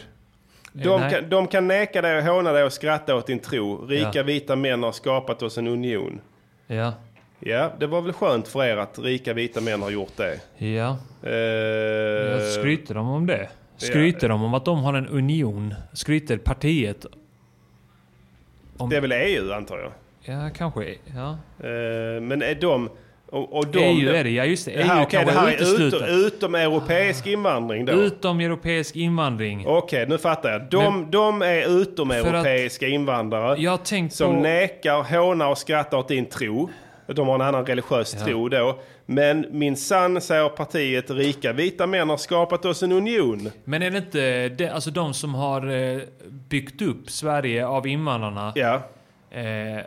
De
nej.
kan, de kan neka dig och håna dig och skratta åt din tro. Rika
Ja.
vita män har skapat oss en union.
Ja.
Ja, det var väl skönt för er att rika vita män har gjort det.
Ja.
Eh,
Ja, Skryter de om det? Skryter de om att de har en union? Skryter partiet?
Det är väl EU antar jag.
Ja, kanske. Ja.
Eh, men är de... Och, och de
EU E är det, ja E just det.
det här,
EU
okej, det
kanske
här
är
är
uteslutet.
utom, utom europeisk invandring då?
Utom europeisk invandring.
Okej, nu fattar jag. De, de är utomeuropeiska invandrare
Jag har tänkt
som
på...
nekar, hånar och skrattar åt din tro. De har en annan religiös
Ja.
tro då. Men min sann säger partiet, rika vita män har skapat oss en union.
Men är det inte det, alltså de som har eh, byggt upp Sverige av invandrarna?
Ja.
Eh,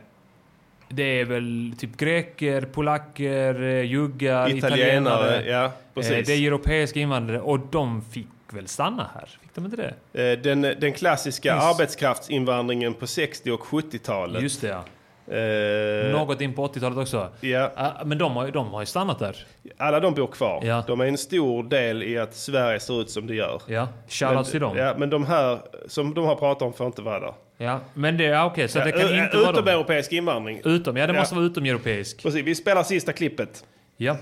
det är väl typ greker, polacker, eh, juggar,
Italienare,
italienare.
ja, precis.
Eh, det är europeiska invandrare och de fick fick väl stanna här? Fick de inte det?
Eh, Den, den klassiska
Yes.
arbetskraftsinvandringen på 60 och 70-talet.
Just det, ja.
Eh,
Något in på 80-talet också. Ah, Men de har, ju- de har ju stannat där.
Alla de bor kvar. De är en stor del i att Sverige ser ut som det gör.
Ja,
men,
shoutout till dem.
Ja, men de här som de har pratat om får inte vara där.
Ja, men det, ja, okej, så
Ja,
det kan
ö-
inte
ö-
vara dem.
Utomeuropeisk invandring.
Utom, ja det måste
Ja.
vara utomeuropeisk.
Precis, vi spelar sista klippet.
Ja.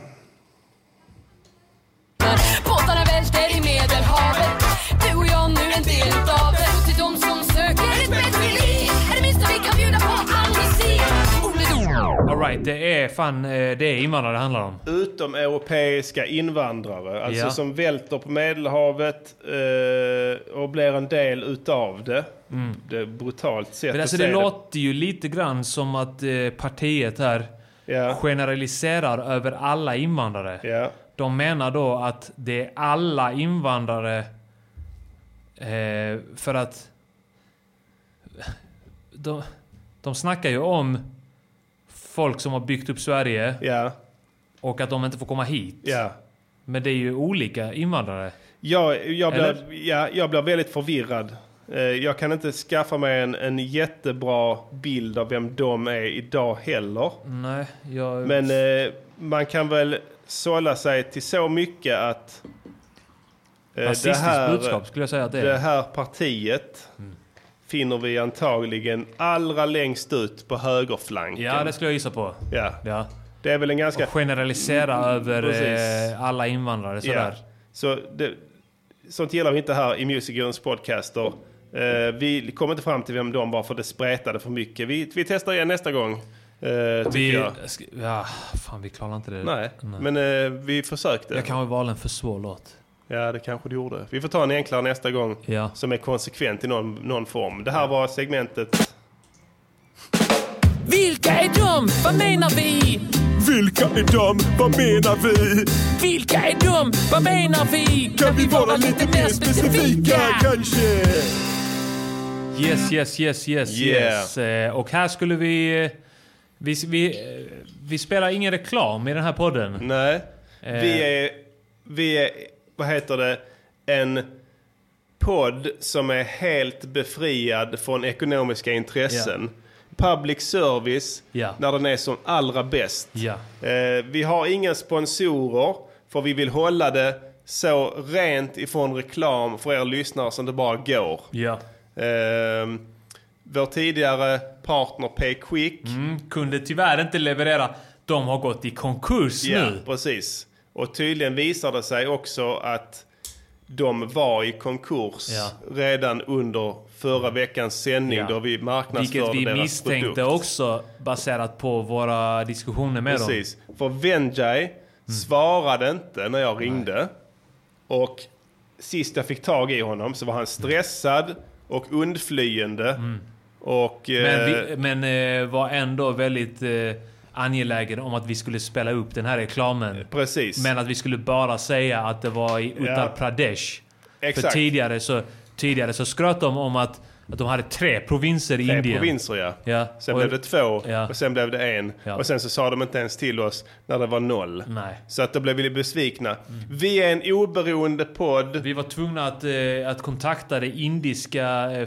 Båtarna välter i medelhavet Du och jag nu en del utav det Och till de som söker ett bättre liv Är det minsta vi kan bjuda på amnesti
Alright, det är fan, eh, det är invandrare det handlar om.
Utomeuropeiska invandrare, alltså
Ja.
som välter på Medelhavet eh, och blir en del utav det.
Mm.
Det är ett brutalt sätt
Men alltså
att
det
se
låter ju lite grann som att eh, partiet här generaliserar över alla invandrare. De menar då att det är alla invandrare eh, för att... De, de snackar ju om folk som har byggt upp Sverige och att de inte får komma hit. Men det är ju olika invandrare.
Jag, jag,
Eller?
blir, ja, jag blir väldigt förvirrad. Eh, Jag kan inte skaffa mig en, en jättebra bild av vem de är idag heller.
Nej, jag...
Men eh, man kan väl sålla sig till så mycket att eh,
Rasistiskt budskap skulle jag säga att det är. Mm.
det här partiet finner vi antagligen allra längst ut på högerflanken.
Ja, det skulle jag gissa på.
Ja.
ja.
Det är väl en ganska...
Och generalisera över
Mm. Precis.
eh, alla invandrare sådär.
Ja. Så det, sånt gillar vi inte här i Musicons podcaster. Eh, vi kommer inte fram till vem de var för det spretade för mycket. Vi, vi testar igen nästa gång. eh, tycker
Vi,
jag.
sk- ja, fan vi klarar inte det.
Nej, men eh, vi försökte.
Jag kanske valde en för svår låt.
Ja, det kanske du gjorde. Vi får ta en enklare nästa gång
Ja.
som är konsekvent i någon, någon form. Det här var segmentet...
Vilka är de? Vad menar vi? Vilka är de? Vad menar vi? Vilka är de? Vad menar vi? Kan vi vara lite mer specifika kanske?
Yes, yes, yes, yes,
Yeah.
yes. Eh, Och här skulle vi... eh, Vi, vi, eh, vi spelar ingen reklam i den här podden.
Nej.
Eh.
Vi är, vi är, vad heter det, en podd som är helt befriad från ekonomiska intressen. Public service,
Ja.
när den är som allra bäst. Eh, vi har inga sponsorer, för vi vill hålla det så rent ifrån reklam för er lyssnare som det bara går.
Ja.
Ehm, vår tidigare partner Payquick
mm, kunde tyvärr inte leverera. De har gått i konkurs
Ja,
nu.
precis. Och tydligen visar det sig också att de var i konkurs
Ja.
redan under förra veckans sändning
Ja.
då vi marknadsförde
Vilket vi
deras
misstänkte
produkt.
också baserat på våra diskussioner med
Precis. För Venjay
Mm.
svarade inte när jag ringde. Och sist jag fick tag i honom så var han stressad och undflyende. Och...
dem. Mm. Men,
eh,
vi, men eh, var ändå väldigt eh, angelägen om att vi skulle spela upp den här reklamen.
Precis.
Men att vi skulle bara säga att det var i Uttar
Ja.
Pradesh. För
Exakt.
tidigare så, tidigare så skröt de om att, att de hade tre provinser i
Tre
Indien.
provinser ja.
Ja.
Sen
Och-
blev det två och sen blev det en. Och sen så sa de inte ens till oss när det var noll. Så att då blev vi besvikna. Vi är en oberoende podd.
Vi var tvungna att, eh, att kontakta det indiska eh,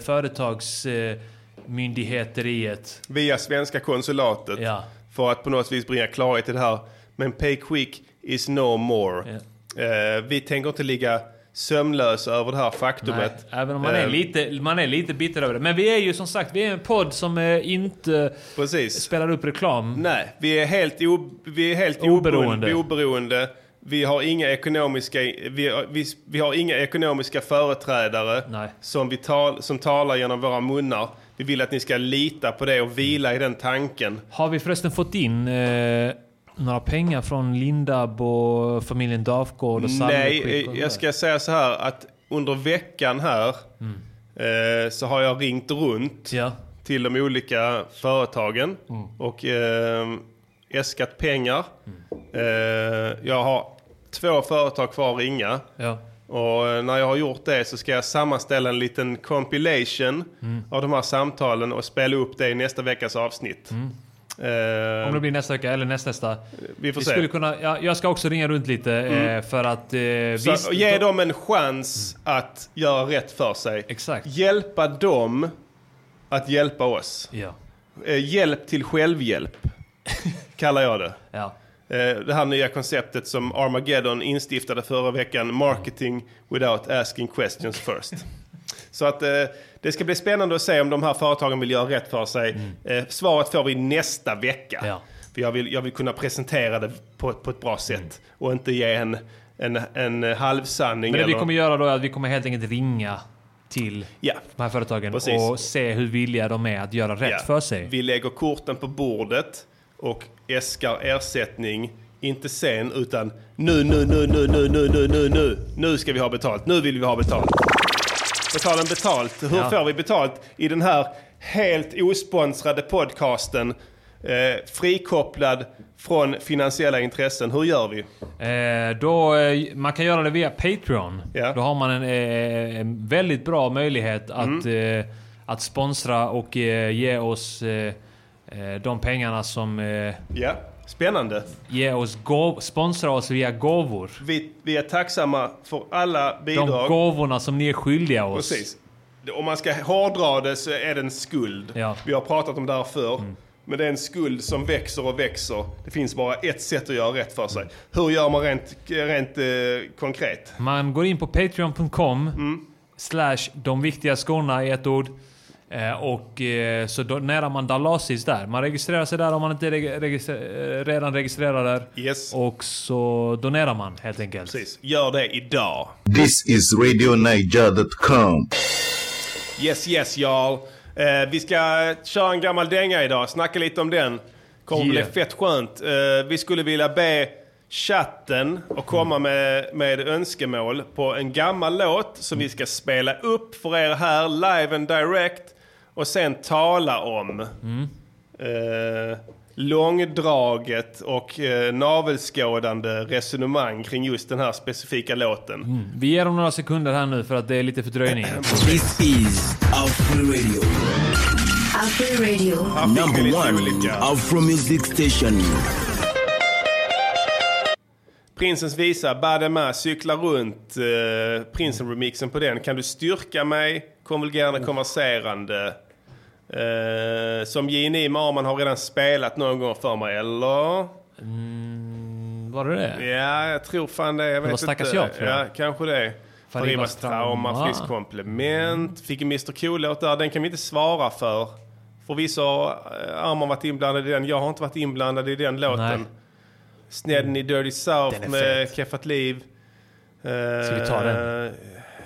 företagsmyndigheten.
Via svenska konsulatet. För att på något vis bringa klarhet i det här. Men pay quick is no more. Eh, vi tänker inte ligga sömnlösa över det här faktumet.
Nej, även om man är,
Eh,
lite, man är lite bitter över det. Men vi är ju som sagt, vi är en podd som eh, inte spelar upp reklam.
Nej, vi är helt, o, vi är helt
Oberoende.
oberoende. oberoende. Vi har inga ekonomiska, vi, har- vi, vi har inga ekonomiska företrädare som, vi tal, som talar genom våra munnar. Vi vill att ni ska lita på det och vila i den tanken.
Har vi förresten fått in eh, några pengar från Lindab och familjen Dafgård och
Nej,
Salmeskik? och
eh,
det där?
jag ska säga så här att under veckan här
Mm.
eh, så har jag ringt runt till de olika företagen
Mm.
och eh, äskat pengar. Eh, jag har två företag kvar att ringa.
Ja.
Och eh, när jag har gjort det så ska jag sammanställa en liten compilation
Mm.
av de här samtalen och spela upp det i nästa veckas avsnitt. Eh,
Mm. Om det blir nästa vecka eller nästnästa.
Vi får se.
Skulle kunna, ja, jag ska också ringa runt lite
Mm.
eh, för att... Eh,
Så
visst, Mm.
ge dem en chans att göra rätt för sig. Hjälpa dem att hjälpa oss.
Ja.
Eh, Hjälp
[LAUGHS]
till självhjälp, kallar jag det.
Ja.
Eh, Det här nya konceptet som Armageddon instiftade förra veckan, Marketing without asking questions
[LAUGHS]
first. Så att eh, det ska bli spännande att se om de här företagen vill göra rätt för sig.
Mm.
Eh, svaret får vi nästa vecka. För jag vill, jag vill kunna presentera det på, på ett bra sätt och inte ge en, en, en halvsanning.
Mm. Men det vi
eller-
kommer göra då är att vi kommer helt enkelt ringa till de här företagen
Precis.
och se hur villiga de är att göra rätt
Ja.
för sig.
Vi lägger korten på bordet och äskar ersättning. Inte sen, utan nu, nu, nu, nu, nu, nu, nu, nu, nu. Nu ska vi ha betalt. Nu vill vi ha betalt. På tal om betalt. Hur
Ja.
får vi betalt i den här helt osponsrade podcasten? Eh, frikopplad från finansiella intressen. Hur gör vi?
Eh, då, eh, man kan göra det via Patreon. Då har man en, eh, en väldigt bra möjlighet att,
Mm.
eh, att sponsra och eh, ge oss eh, eh, de pengarna som... Eh,
ja, spännande.
Ge oss gåv, sponsra oss via gåvor.
Vi, vi är tacksamma för alla bidrag.
De gåvorna som ni är skyldiga oss.
Precis. Det- Om man ska hårdra det så är det en skuld. Vi har pratat om det här förr. Men det är en skuld som växer och växer. Det finns bara ett sätt att göra rätt för sig. Hur gör man rent, rent eh, konkret?
Man går in på patreon.com
Mm.
slash de viktiga skorna i ett ord. Eh, Och eh, så donerar man Dalasis där. Man registrerar sig där om man inte är reg- registre- eh, redan registrerar där. Och så donerar man helt enkelt.
Precis. Gör det idag.
This is RadioNiger.com.
Yes, yes y'all. Eh, vi ska köra en gammal dänga idag. Snacka lite om den. Kommer
Yeah.
bli fett skönt. Eh, vi skulle vilja be chatten att komma med, med önskemål på en gammal låt som vi ska spela upp för er här live and direct och sen tala om. Eh, långdraget och eh, navelskådande resonemang kring just den här specifika låten.
Mm. Vi ger dem några sekunder här nu för att det är lite
[CLEARS THROAT]
fördröjning.
This is Afro Radio.
Afro Radio.
Number one Afro Music Station.
Prinsens visa, Badema, cykla runt, eh, prinsen-remixen på den. Kan du styrka mig, konvulgerande, konverserande. Eh, som J&E med Arman har redan spelat någon gång för mig, eller?
var det det?
Ja, jag tror fan det. Jag
var
vet
Stackars
inte.
jag, tror jag.
Ja, kanske det.
Faribas
Faribas trauma,
trauma.
friskt komplement. Fick en Mr Cool-låt där, den kan vi inte svara för. Förvisso har eh, Arman varit inblandad i den, jag har inte varit inblandad i den låten.
Nej.
Snedden i Dirty South
Den är
med Keffat Liv. Eh,
Ska vi ta den?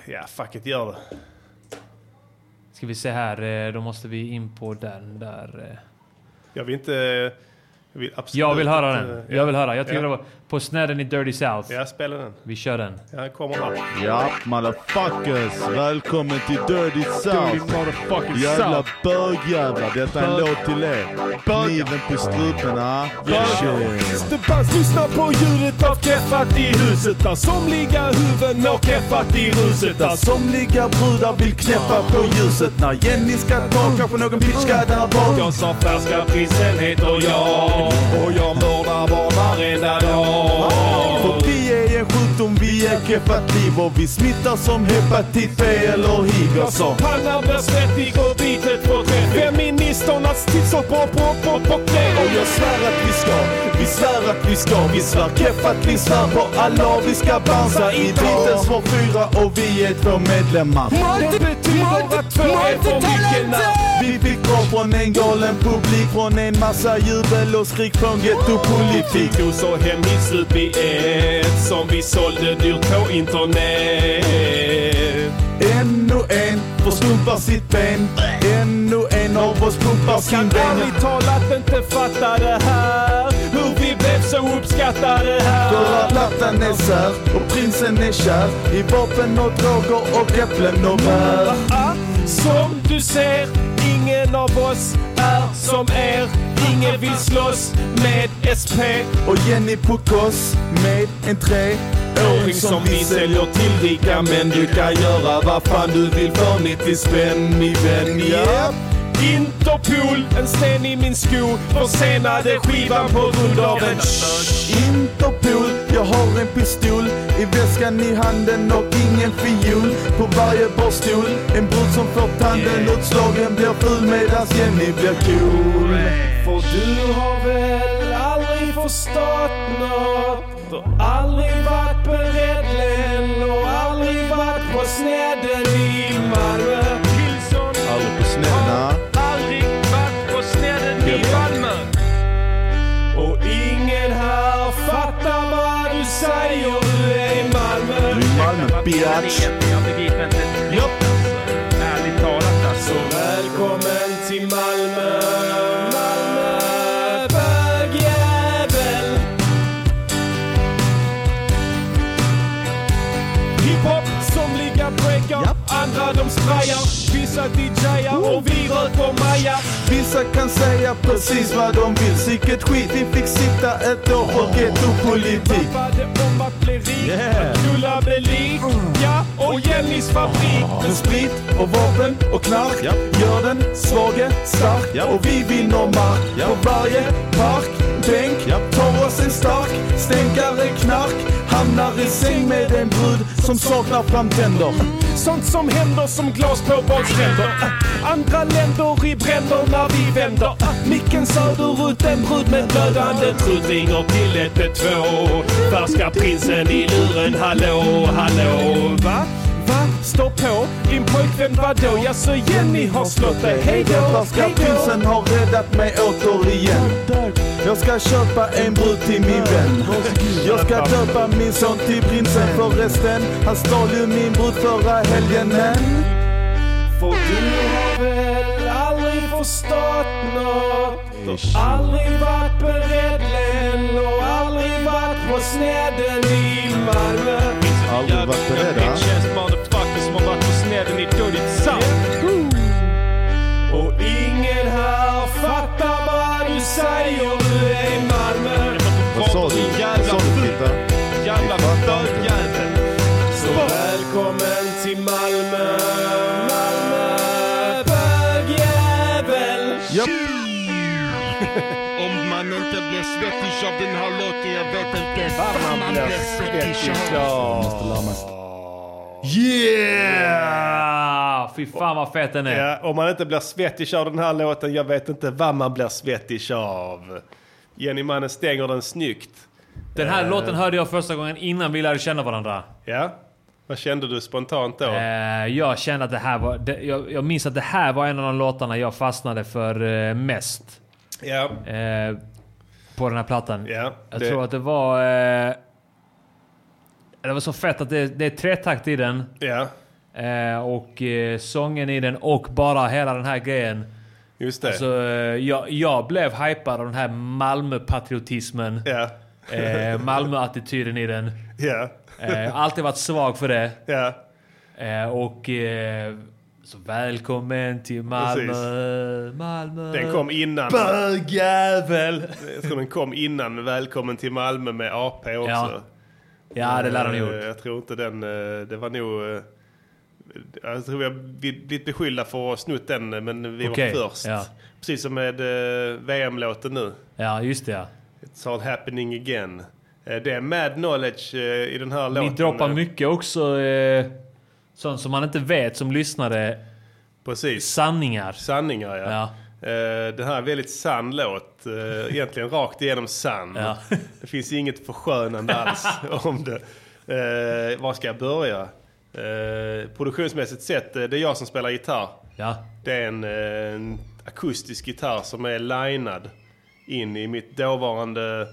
Ja, fuck it, gör det.
Ska vi se här, eh, då måste vi in på den där. eh.
Jag vill inte... Jag vill, absolut
Jag vill höra
inte- eh,
den. Jag vill höra. Jag tycker
ja.
det var på snedden i Dirty South.
Ja, spela den.
Vi kör den.
Ja, kommer här.
Ja, motherfuckers! Välkommen till Dirty South!
Dirty motherfucking
Jävla
South.
bögjävlar, detta är en
Bög.
låt till er. Kniven på strupen, ah. Shit.
Mr Buzz lyssnar på ljudet av keffat i huset där Somliga huvuden och keffat i ruset där Somliga brudar vill knäppa på ljuset när Jenny ska ta kanske någon bitchka där bak Jag sa färska prissen heter jag och jag mördar barn varenda dag
För vi är en sjukdom, vi är keffat liv och vi smittar som hepatit B eller hiv. Jag sa
Pannan blir svettig och bitet på träff Feministernas tits och på på på på knä Och jag svär att vi ska, vi svär att vi ska Vi svär keff att vi svär på Allah Vi ska dansa
I
idag
titeln var fyra och vi är två medlemmar.
Det betyder att två är för mycket namn
Vi fick krav från en galen publik, från en massa jubel och skrik från gettopolitik.
Dos och hemhitstrup i ett Som vi sålde dyrt på internet
Ännu en förstumpar sitt ben. Ännu en av oss pumpar sin ben.
Ärligt talat inte fatta det här Hur vi blev så uppskattade här
För att latten är sär och prinsen är kär i vapen och droger och äpplen och bär.
Ah, Som du ser, ingen av oss är som er Ingen vill slåss med SP
Och Jenny på koss med en treåring som vi säljer till rika män. Du kan göra vad fan du vill för 90 spänn min vän. Ja.
Interpol, en sten i min sko. Försenade skivan på grund av en...
Interpol, jag har en pistol i väskan i handen och ingen fiol. På varje barstol, en brud som får tanden utslagen blir ful medans Jenny blir cool.
För du har väl aldrig förstått nåt och aldrig varit beredd än och aldrig varit på snedden i Malmö.
Aldrig på snedden.
Aldrig varit på snedden i Malmö. Och ingen här fattar vad du säger. Du är i Malmö.
Du är i Malmö, bitch.
Jag begriper inte ett flipp. Ärligt talat alltså. Så välkommen till Malmö. Malmö, bögjävel. Hiphop, somliga breakar, andra de sprajar. Vissa DJar och vi rör på Maja.
Vissa kan säga precis vad de vill, sicket skit. Vi fick sitta ett år för gettopolitik.
Tappade om att bli rik, att knulla med lik. Ja, och Jennys fabrik.
Med sprit och vapen och knark gör den svage stark och vi vinner mark på varje park. Bänk tar oss en stark stänkare knark hamnar i säng med en brud som saknar framtänder.
Mm. Sånt som händer som glas på badstränder.
[LAUGHS]
Äh, Andra länder i bränder när vi vänder. Äh, Micken söderut, en brud med blödande trut ringer till 112. Färska prinsen i luren, hallå, hallå. Va? Va? Stå på? Din pojkvän vadå? Ja, så Jenny har slått dig. Hej då,
Färska prinsen har räddat mig återigen. Jag ska köpa en brud till min vän. Jag ska döpa min son till prinsen förresten. Han stal ju min brud förra helgen men.
För du har väl aldrig förstått nåt och aldrig varit beredd än och aldrig varit på snedden i Malmö.
Aldrig varit beredd, va?
Känns motherfucker som har varit på snedden i Dirty Sound. Och ingen här fattar vad du säger, du är i Malmö.
Vad sa du? Vad sa du Fitta?
Jävla stödjävel. Så välkommen till Malmö. Malmö, bögjävel.
Om man inte blir svettig av den här låten, jag vet inte vad man blir svettig
Yeah!
Ah, Fy fan vad fet den är.
Ja, om man inte blir svettig av den här låten, jag vet inte vad man blir svettig av. Jenny Mannen stänger den snyggt.
Den här
Eh,
låten hörde jag första gången innan vi lärde känna varandra.
Ja, vad kände du spontant då?
Eh, jag kände att det här var... Det, jag, jag minns att det här var en av de låtarna jag fastnade för eh, mest.
Ja.
Eh, på den här plattan. jag
det-
tror att det var... Eh, det var så fett att det, det är tretakt i den.
Ja.
Eh, och eh, sången i den och bara hela den här grejen.
Just det.
Alltså, eh, jag, jag blev hypad av den här Malmö-patriotismen.
Ja.
Eh, Malmö-attityden i den.
Ja.
Eh, alltid varit svag för det.
Ja.
Eh, och... Eh, så välkommen till Malmö,
Precis.
Malmö.
Den kom innan.
Bögjävel!
Jag tror den kom innan Välkommen till Malmö med AP också.
Ja. Ja, det lär den ha
Eh, Jag tror inte den... eh, Det var nog... eh, Jag tror jag vi blivit beskyllda för att ha snott den, eh, men vi
Okej,
var först.
ja.
Precis som med eh, VM-låten nu.
Ja, just det ja.
It's all happening again. Eh, Det är mad knowledge eh, i den här
Ni
låten.
droppar mycket också eh, sånt som man inte vet som lyssnare.
Precis.
Sanningar.
Sanningar ja. Eh, Den här är väldigt sann låt. eh, Egentligen rakt igenom sann. Det finns inget förskönande
[LAUGHS]
alls om det. Eh, Var ska jag börja? Eh, Produktionsmässigt sett, eh, det är jag som spelar gitarr. Det är en, eh, en akustisk gitarr som är linad in i mitt dåvarande...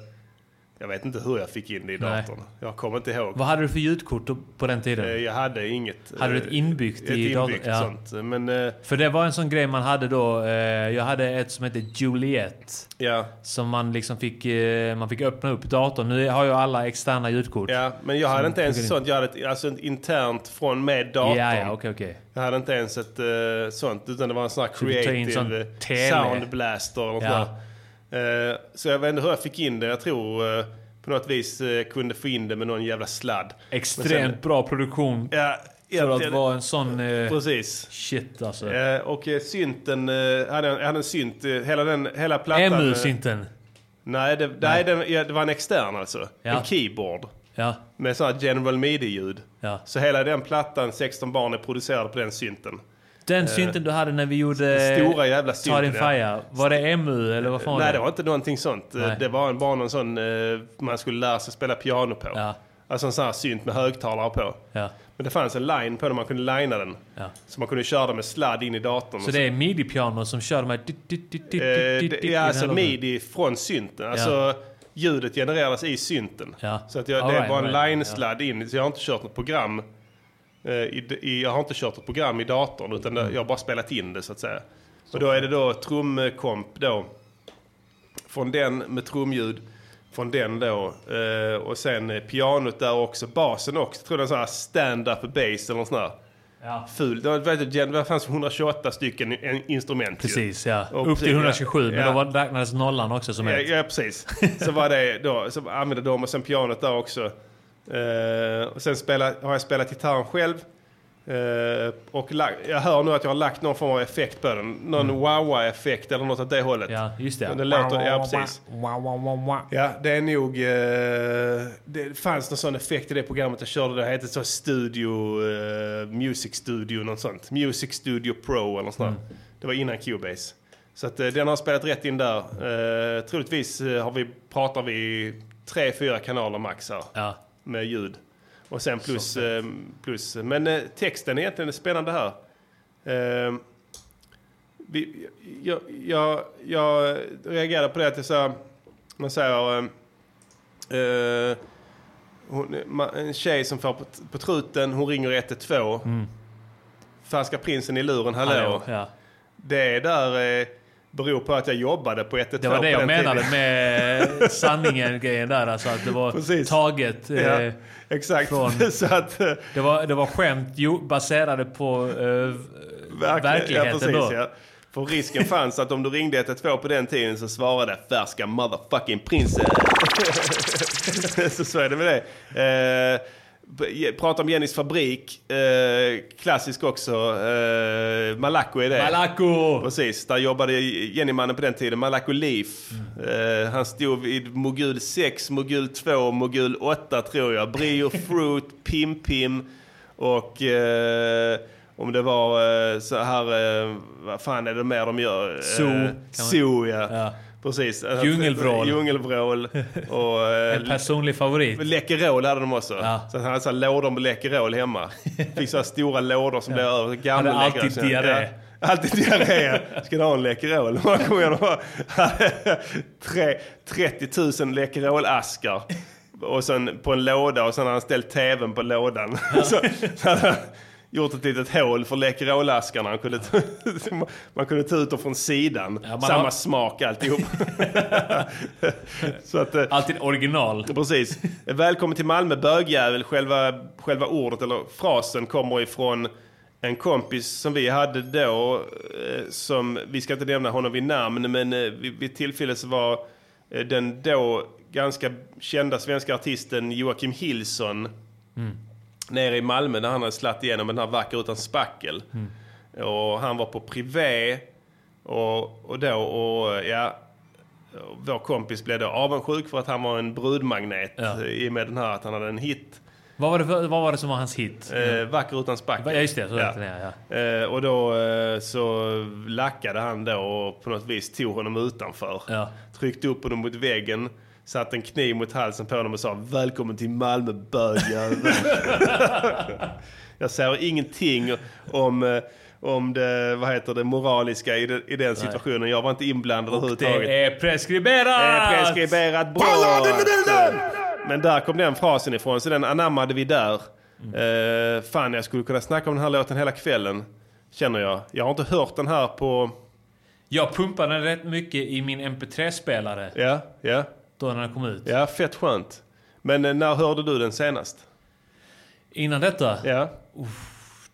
Jag vet inte hur jag fick in det i
Nej.
datorn. Jag kommer inte ihåg.
Vad hade du för ljudkort då- på den tiden?
Eh, Jag hade inget.
Hade du
eh,
ett inbyggt
ett
i datorn?
inbyggt
Ja.
sånt. Men, eh,
För det var en sån grej man hade då. Eh, jag hade ett som hette Juliet.
Ja.
Som man liksom fick, eh, man fick öppna upp datorn. Nu har ju alla externa ljudkort.
Ja, men jag hade inte ens ett sånt. Jag hade ett, alltså ett internt från med datorn.
Ja, ja, okej, okej.
Jag hade inte ens ett eh, sånt, utan det var en sån här
Så du tar in
creative
sån
eh,
tele.
soundblaster. Och
Ja.
ja. uh, så jag vet inte hur jag fick in det. Jag tror eh, på något vis eh, kunde få in det med någon jävla sladd. Men sen-
Extremt bra produktion.
Ja,
För att vara en sån... Eh,
Precis.
Shit alltså.
Eh, och eh, synten, eh, hade, en- hade en synt, eh, hela den, hela plattan.
Emu-synten.
Nej, det, nej.
Nej.
den, ja, det var en extern alltså.
Ja.
En keyboard.
Ja.
Med sådana general midi-ljud.
Ja.
Så hela den plattan, 16 barn, är producerad på den synten.
Den
Eh,
synten du hade när vi gjorde...
Den stora jävla
Ta din
synten, ja.
fire. Var det emu eller vad fan
Nej, det var inte någonting sånt.
Nej.
Det var en, bara någon sån eh, man skulle lära sig spela piano på. Alltså en sån här synt med högtalare på.
Ja.
Men det fanns en line på den, man kunde linea den. Så man kunde köra den med sladd in i datorn.
Så
och
det är midi-piano som kör de här... dit, dit, dit, dit, dit,
Eh,
dit,
det-
dit i
Ja,
den här
alltså
låten.
midi från synten. Alltså ljudet genereras i synten. Så att jag,
All
det
right,
var en
all right,
line-sladd in. Så jag har inte kört något program. eh, I, i, jag har inte kört ett program i datorn utan det, jag har bara spelat in det så att säga. Och då är det då trumkomp då. Från den med trumljud. Från den då. eh, Och sen eh, pianot där också. Basen också. Jag tror det är en sån här stand-up bass eller något sånt där.
Ja.
Ful. Det var- vet du, det fanns 128 stycken i- instrument ju.
Precis ja.
Och
Upp till
precis,
127 men
ja.
då var- räknades nollan också som
Ja,
ett.
ja, precis. Så var det då, så använde de och sen pianot där också. Eh, och sen spela, har jag spelat gitarren själv. Eh, och la, jag hör nu att jag har lagt någon form av effekt på den. Någon
Mm.
wah-wah-effekt eller något åt det hållet.
Ja, just det.
Men det låter, ja precis. Ja, det är nog... eh, det fanns någon sån effekt i det programmet jag körde. Det hette så Studio... eh, Music Studio, något sånt. Music Studio Pro eller något sånt. där. Det var innan Cubase. Så att, eh, den har spelat rätt in där. Uh, troligtvis eh, har vi, pratar vi tre, fyra kanaler max här. Med ljud. Och sen plus... eh, plus men eh, texten är egentligen spännande här. Eh, vi, jag, jag, jag reagerade på det att jag sa, man säger, eh, eh, hon, ma- en tjej som får på, på truten, hon ringer 112.
Mm.
Falska prinsen i luren, hallå.
Hallå, ja.
Det där eh, beror på att jag jobbade på 112
Det var det jag
på den
menade
tiden. [LAUGHS]
med sanningen-grejen där. Alltså att det var taget eh,
Ja, exakt. [LAUGHS] Så att, eh,
det, var, det var skämt jo, baserade på eh, verkligheten
ja, precis,
då.
Ja. För risken fanns att om du ringde 112 på den tiden så svarade färska motherfucking
[LAUGHS]
prinsen. så så är det med det. Eh, b- prata om Jennys fabrik. Eh, klassisk också. Eh, Malaco är det.
Malaco!
Precis, där jobbade Jennymannen på den tiden. Malaco Leaf.
Mm.
Eh, han stod vid mogul 6, mogul 2, mogul 8 tror
[LAUGHS]
jag. Brio Fruit, Pim Pim. Och eh, om det var eh, så här, eh, vad fan är det mer de gör? Eh,
Zoo, kan man-
Zoo ja. Precis.
Djungelvrål. [LAUGHS]
Djungelvrål. Och, eh,
En personlig favorit.
Läkerol hade de också. Så han hade så här lådor med
[LAUGHS]
Läkerol hemma. Fick så här stora lådor som blev över. Gamla
Hade alltid
Läkerol.
diarré.
Ja, alltid diarré. Ska du ha en Läkerol? Man kommer ihåg att de hade [LAUGHS] tre- 30 000 Läkerol-askar. Och sen på en låda och sen hade han ställt tvn på lådan. [LAUGHS] Så, så hade han gjort ett litet hål för Läkerolaskarna. Han kunde ta- [LAUGHS] man kunde ta ut dem från sidan.
man
Samma
har-
smak alltihop.
[LAUGHS]
[LAUGHS] Så att, eh,
Alltid original.
Precis. Välkommen till Malmö bögjävel. Själva, själva ordet eller frasen kommer ifrån en kompis som vi hade då. eh, Som, vi ska inte nämna honom vid namn men eh, vid, vid tillfället så var eh, den då ganska kända svenska artisten Joakim Hillson
Mm.
nere i Malmö när han hade slatt igenom den här Vacker utan spackel.
Mm.
Och han var på privé. Och, och då, och ja, vår kompis blev då avundsjuk för att han var en brudmagnet i och med den här att han hade en hit.
Vad var, det, för- vad var det som var hans hit?
Eh, vacker utan spackel.
Ja, just det, så hette den, ja,
Eh, och då eh, så lackade han då och på något vis tog honom utanför. Tryckte upp honom mot väggen. Satte en kniv mot halsen på honom och sa Välkommen till Malmö bögjävel. [LAUGHS] Jag säger ingenting om, eh, om det, vad heter det moraliska i, det, i den situationen. Jag var inte inblandad överhuvudtaget.
Det är preskriberat!
Det är preskriberat brott! Men där kom den frasen ifrån, så den anammade vi där. Eh, fan, jag skulle kunna snacka om den här låten hela kvällen, känner jag. Jag har inte hört den här på...
Jag pumpade den rätt mycket i min mp3-spelare.
Ja, ja.
Då när den kom ut.
Ja, fett skönt. Men eh, när hörde du den senast?
Innan detta?
Ja.
Uff,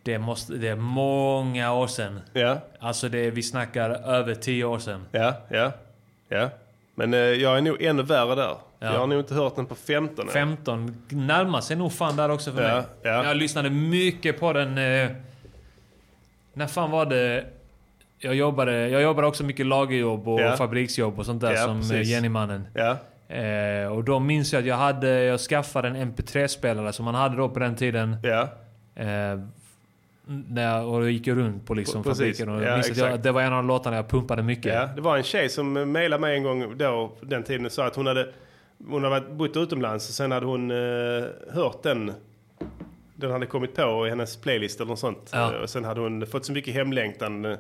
det, måste, det är många år sedan.
Ja.
Alltså det, vi snackar över tio år sedan.
Ja, ja, ja. Men eh, jag är nog ännu värre där.
Ja.
Jag har nog inte hört den på 15 år.
15 närmar sig nog fan där också för
Ja,
mig.
ja.
Jag lyssnade mycket på den... Eh, när fan var det... Jag jobbade, jag jobbade också mycket lagerjobb och
Ja.
fabriksjobb och sånt där
Ja,
som
precis.
eh, Jennymannen. Eh, och då minns jag att jag hade... Jag skaffade en MP3-spelare som man hade då på den tiden. Eh, när jag, och då gick jag runt på liksom
Precis.
fabriken och
Ja,
jag minns att jag,
exakt.
det var en av låtarna jag pumpade mycket.
Ja, det var en tjej som eh, mejlade mig en gång då, den tiden, och sa att hon hade, hon hade varit- bott utomlands och sen hade hon eh, hört den. Den hade kommit på i hennes playlist eller något sånt.
Ja.
Eh, Och sen hade hon fått så mycket hemlängtan eh,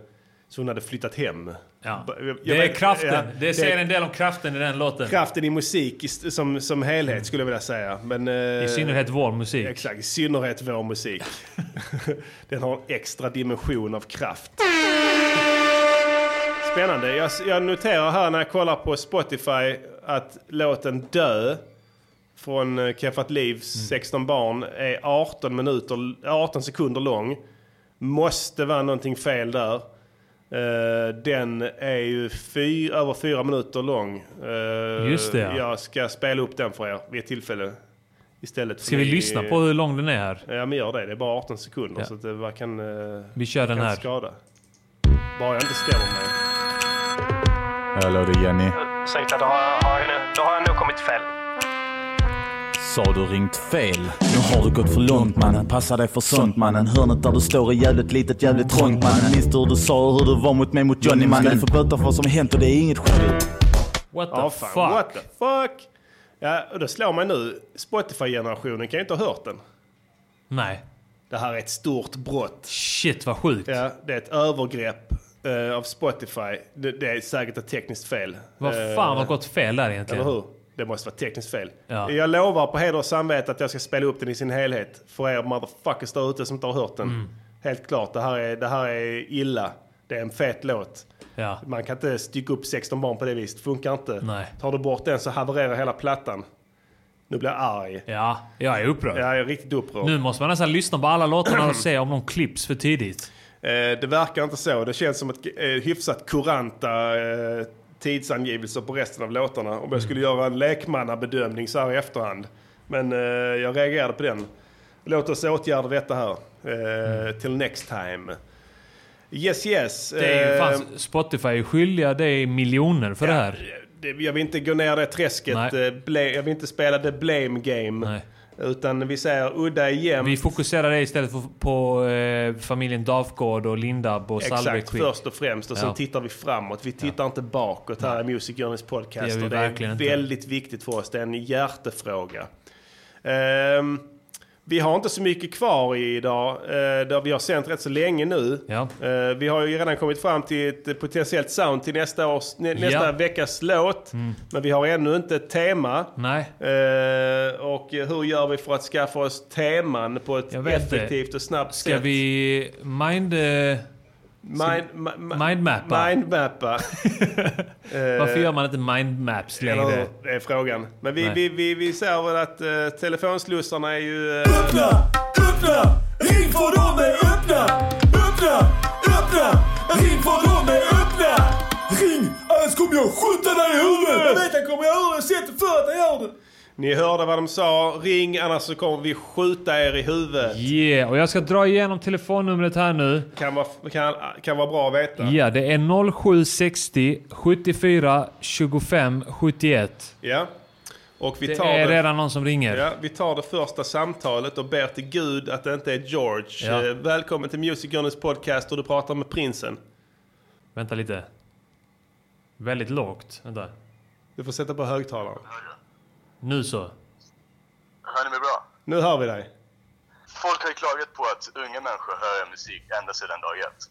så hon hade flyttat hem.
Ja.
Ba- jag-
Det
jag
är
vet-
kraften.
ja,
det säger en del om kraften i den låten.
Kraften i musik i st- som, som helhet skulle jag vilja säga. Men, eh,
I synnerhet vår musik.
Exakt, i synnerhet vår musik. [LAUGHS] den har en extra dimension av kraft. Spännande. Jag, jag noterar här när jag kollar på Spotify att låten Dö från eh, Keffat Livs
Mm.
16 barn är 18, minuter, 18 sekunder lång. Måste vara någonting fel där. Eh, den är ju fy, över fyra minuter lång. Eh,
Just det, ja.
Jag ska spela upp den för er vid ett tillfälle. Istället för
Ska vi
ni-
lyssna på hur lång den är här?
Ja men gör det. Det är bara 18 sekunder
Ja.
så att det bara kan... eh,
Vi kör den
kan
här.
skada. Bara jag inte stämmer mig.
Hallå det är Jenny.
Ursäkta, då har, jag, har jag nu, då har jag nog kommit fel.
Sa du ringt fel? Nu har du gått för långt mannen. Passa dig för sånt mannen. Hörnet där du står är jävligt litet, jävligt trångt mannen. Minns du hur du sa och hur du var mot mig mot Johnny mannen? Ska du få böter för vad som hänt och det är inget skämt.
What
the fuck? What the fuck? Ja, och det slår mig nu. Spotify-generationen kan ju inte ha hört den.
Nej.
Det här är ett stort brott.
Shit vad sjukt.
Ja, det är ett övergrepp eh, av Spotify. Det, det är säkert ett tekniskt fel.
Vad
Eh,
fan har gått fel där egentligen?
Eller hur? Det måste vara tekniskt fel.
Ja.
Jag lovar på heder och samvete att jag ska spela upp den i sin helhet. För er motherfuckers där ute som inte har hört den.
Mm.
Helt klart, det här, är, det här är illa. Det är en fet låt.
Ja.
Man kan inte stycka upp 16 barn på det viset. Funkar inte.
Nej.
Tar du bort den så havererar hela plattan. Nu blir jag arg.
Ja, jag är upprörd.
Ja, jag är riktigt upprörd.
Nu måste man nästan lyssna på alla låtarna och se om de klipps för tidigt.
Eh, det verkar inte så. Det känns som ett eh, hyfsat kuranta eh, tidsangivelser på resten av låtarna.
Mm.
Om jag skulle göra en lekmannabedömning så här i efterhand. Men eh, jag reagerade på den. Låt oss åtgärda detta här. Eh, Till next time. Yes yes.
Mm. Det är ju
Eh,
fan, Spotify är skyldiga dig miljoner för det här.
det, jag vill inte gå ner det träsket. Eh, bla- jag vill inte spela the blame game. Utan vi säger udda igen.
Vi fokuserar det istället för, på eh, familjen Dafgård och Lindab och
Exakt,
Salbeck.
först och främst. Och sen
Ja.
tittar vi framåt. Vi tittar inte bakåt här i Music Journeys
Det
podcast.
gör vi
och det
verkligen
är
inte.
väldigt viktigt för oss. Det är en hjärtefråga. Ehm, vi har inte så mycket kvar i idag. eh, där vi har sänt rätt så länge nu. Eh, vi har ju redan kommit fram till ett potentiellt sound till nästa, års, nä, nästa
Ja.
veckas låt.
Mm.
Men vi har ännu inte ett tema.
Nej.
Eh, och hur gör vi för att skaffa oss teman på ett
Jag vet inte.
effektivt och snabbt
Ska
sätt?
vi mind... Eh,
Mind, ma- ma-
mindmappa?
Mindmappa.
[LAUGHS] Varför gör man inte mindmaps
Eh, Eller hur?
längre?
Det är frågan. Men vi,
Nej.
vi, vi, vi säger väl att eh, telefonslussarna är ju... eh,
Öppna! Ring för dem är öppna! Öppna! Öppna! Ring för dem är öppna! Ring, annars kommer jag skjuta dig i huvudet!
Jag vet,
jag kommer göra det. Sätt dig för att jag gör det.
ni hörde vad de sa. Ring annars så kommer vi skjuta er i huvudet.
Yeah, och jag ska dra igenom telefonnumret här nu.
Kan vara, kan, kan vara bra att veta.
Ja, det är 0760 74 25 71.
Ja. Och vi
Det
tar
är redan någon som ringer.
Ja, vi tar det första samtalet och ber till Gud att det inte är George.
Ja.
Eh, Välkommen till Music Journeys podcast och du pratar med prinsen.
Vänta lite. Väldigt lågt. Vänta.
Du får sätta på högtalaren.
Nu så.
Hör ni mig bra?
Nu hör vi dig.
Folk har ju klagat på att unga människor hör er musik ända sedan Mm. dag ett.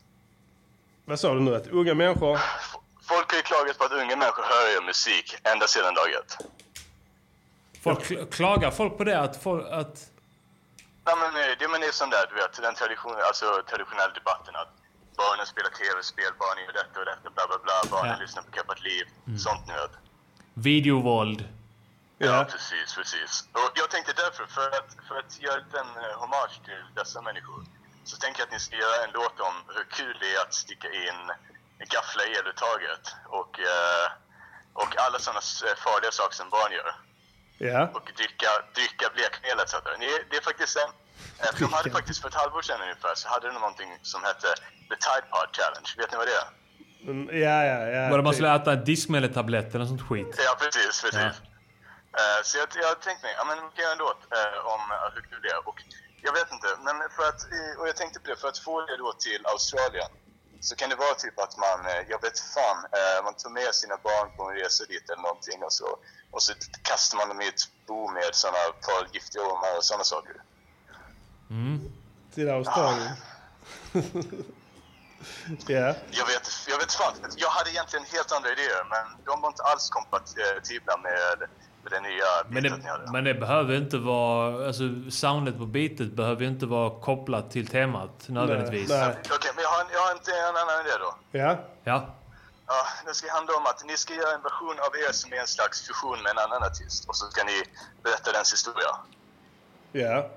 Vad sa du nu? Att unga människor...
Folk har ju klagat på att unga människor hör er musik ända sedan dag ett.
Folk kl- klagar folk på det? Att, folk, att
Nej men eh, det, men det är sån där, du vet, den tradition, alltså, traditionella debatten att barnen spelar tv-spel, barnen gör detta och detta, bla bla bla, barnen
Ja.
lyssnar på Kappat Liv,
Mm.
sånt nu vet.
videovåld.
Ja, precis, precis. Och jag tänkte därför, för att, för att göra en eh, hommage till dessa människor, så tänker jag att ni ska göra en låt om hur kul det är att sticka in, gaffla i eluttaget och, eh, och alla sådana eh, farliga saker som barn gör.
Ja.
Och dricka, dricka blekmedel etc. Det, det är faktiskt en... eh, De hade faktiskt för ett halvår sedan ungefär så hade de någonting som hette The Tide Pod Challenge. Vet ni vad det är?
Mm, ja, ja, ja.
Bara man
typ.
skulle äta en diskmedelstabletter eller sånt skit.
Ja, precis, precis.
Ja.
Eh, så jag, jag tänkte mig, ja men vi kan göra en låt eh, om eh, hur kul det är. Och jag vet inte, men för att, eh, och jag tänkte på det, för att få det då till Australien så kan det vara typ att man, eh, jag vet fan, eh, man tar med sina barn på en resa dit eller någonting och så, och så kastar man dem i ett bo med sådana par giftiga ormar och sådana saker.
Till Australien. ja.
Jag vet, jag vet fan, jag hade egentligen helt andra idéer men de var inte alls kompatibla med, med det nya
Men det, men det behöver inte vara... Alltså soundet på beatet behöver ju inte vara kopplat till temat nödvändigtvis.
Okej, men jag har, en, jag har en, en annan idé då.
Ja.
Ja.
Ja, det ska handla om att ni ska göra en version av er som är en slags fusion med en annan artist och så ska ni berätta dens historia.
Ja.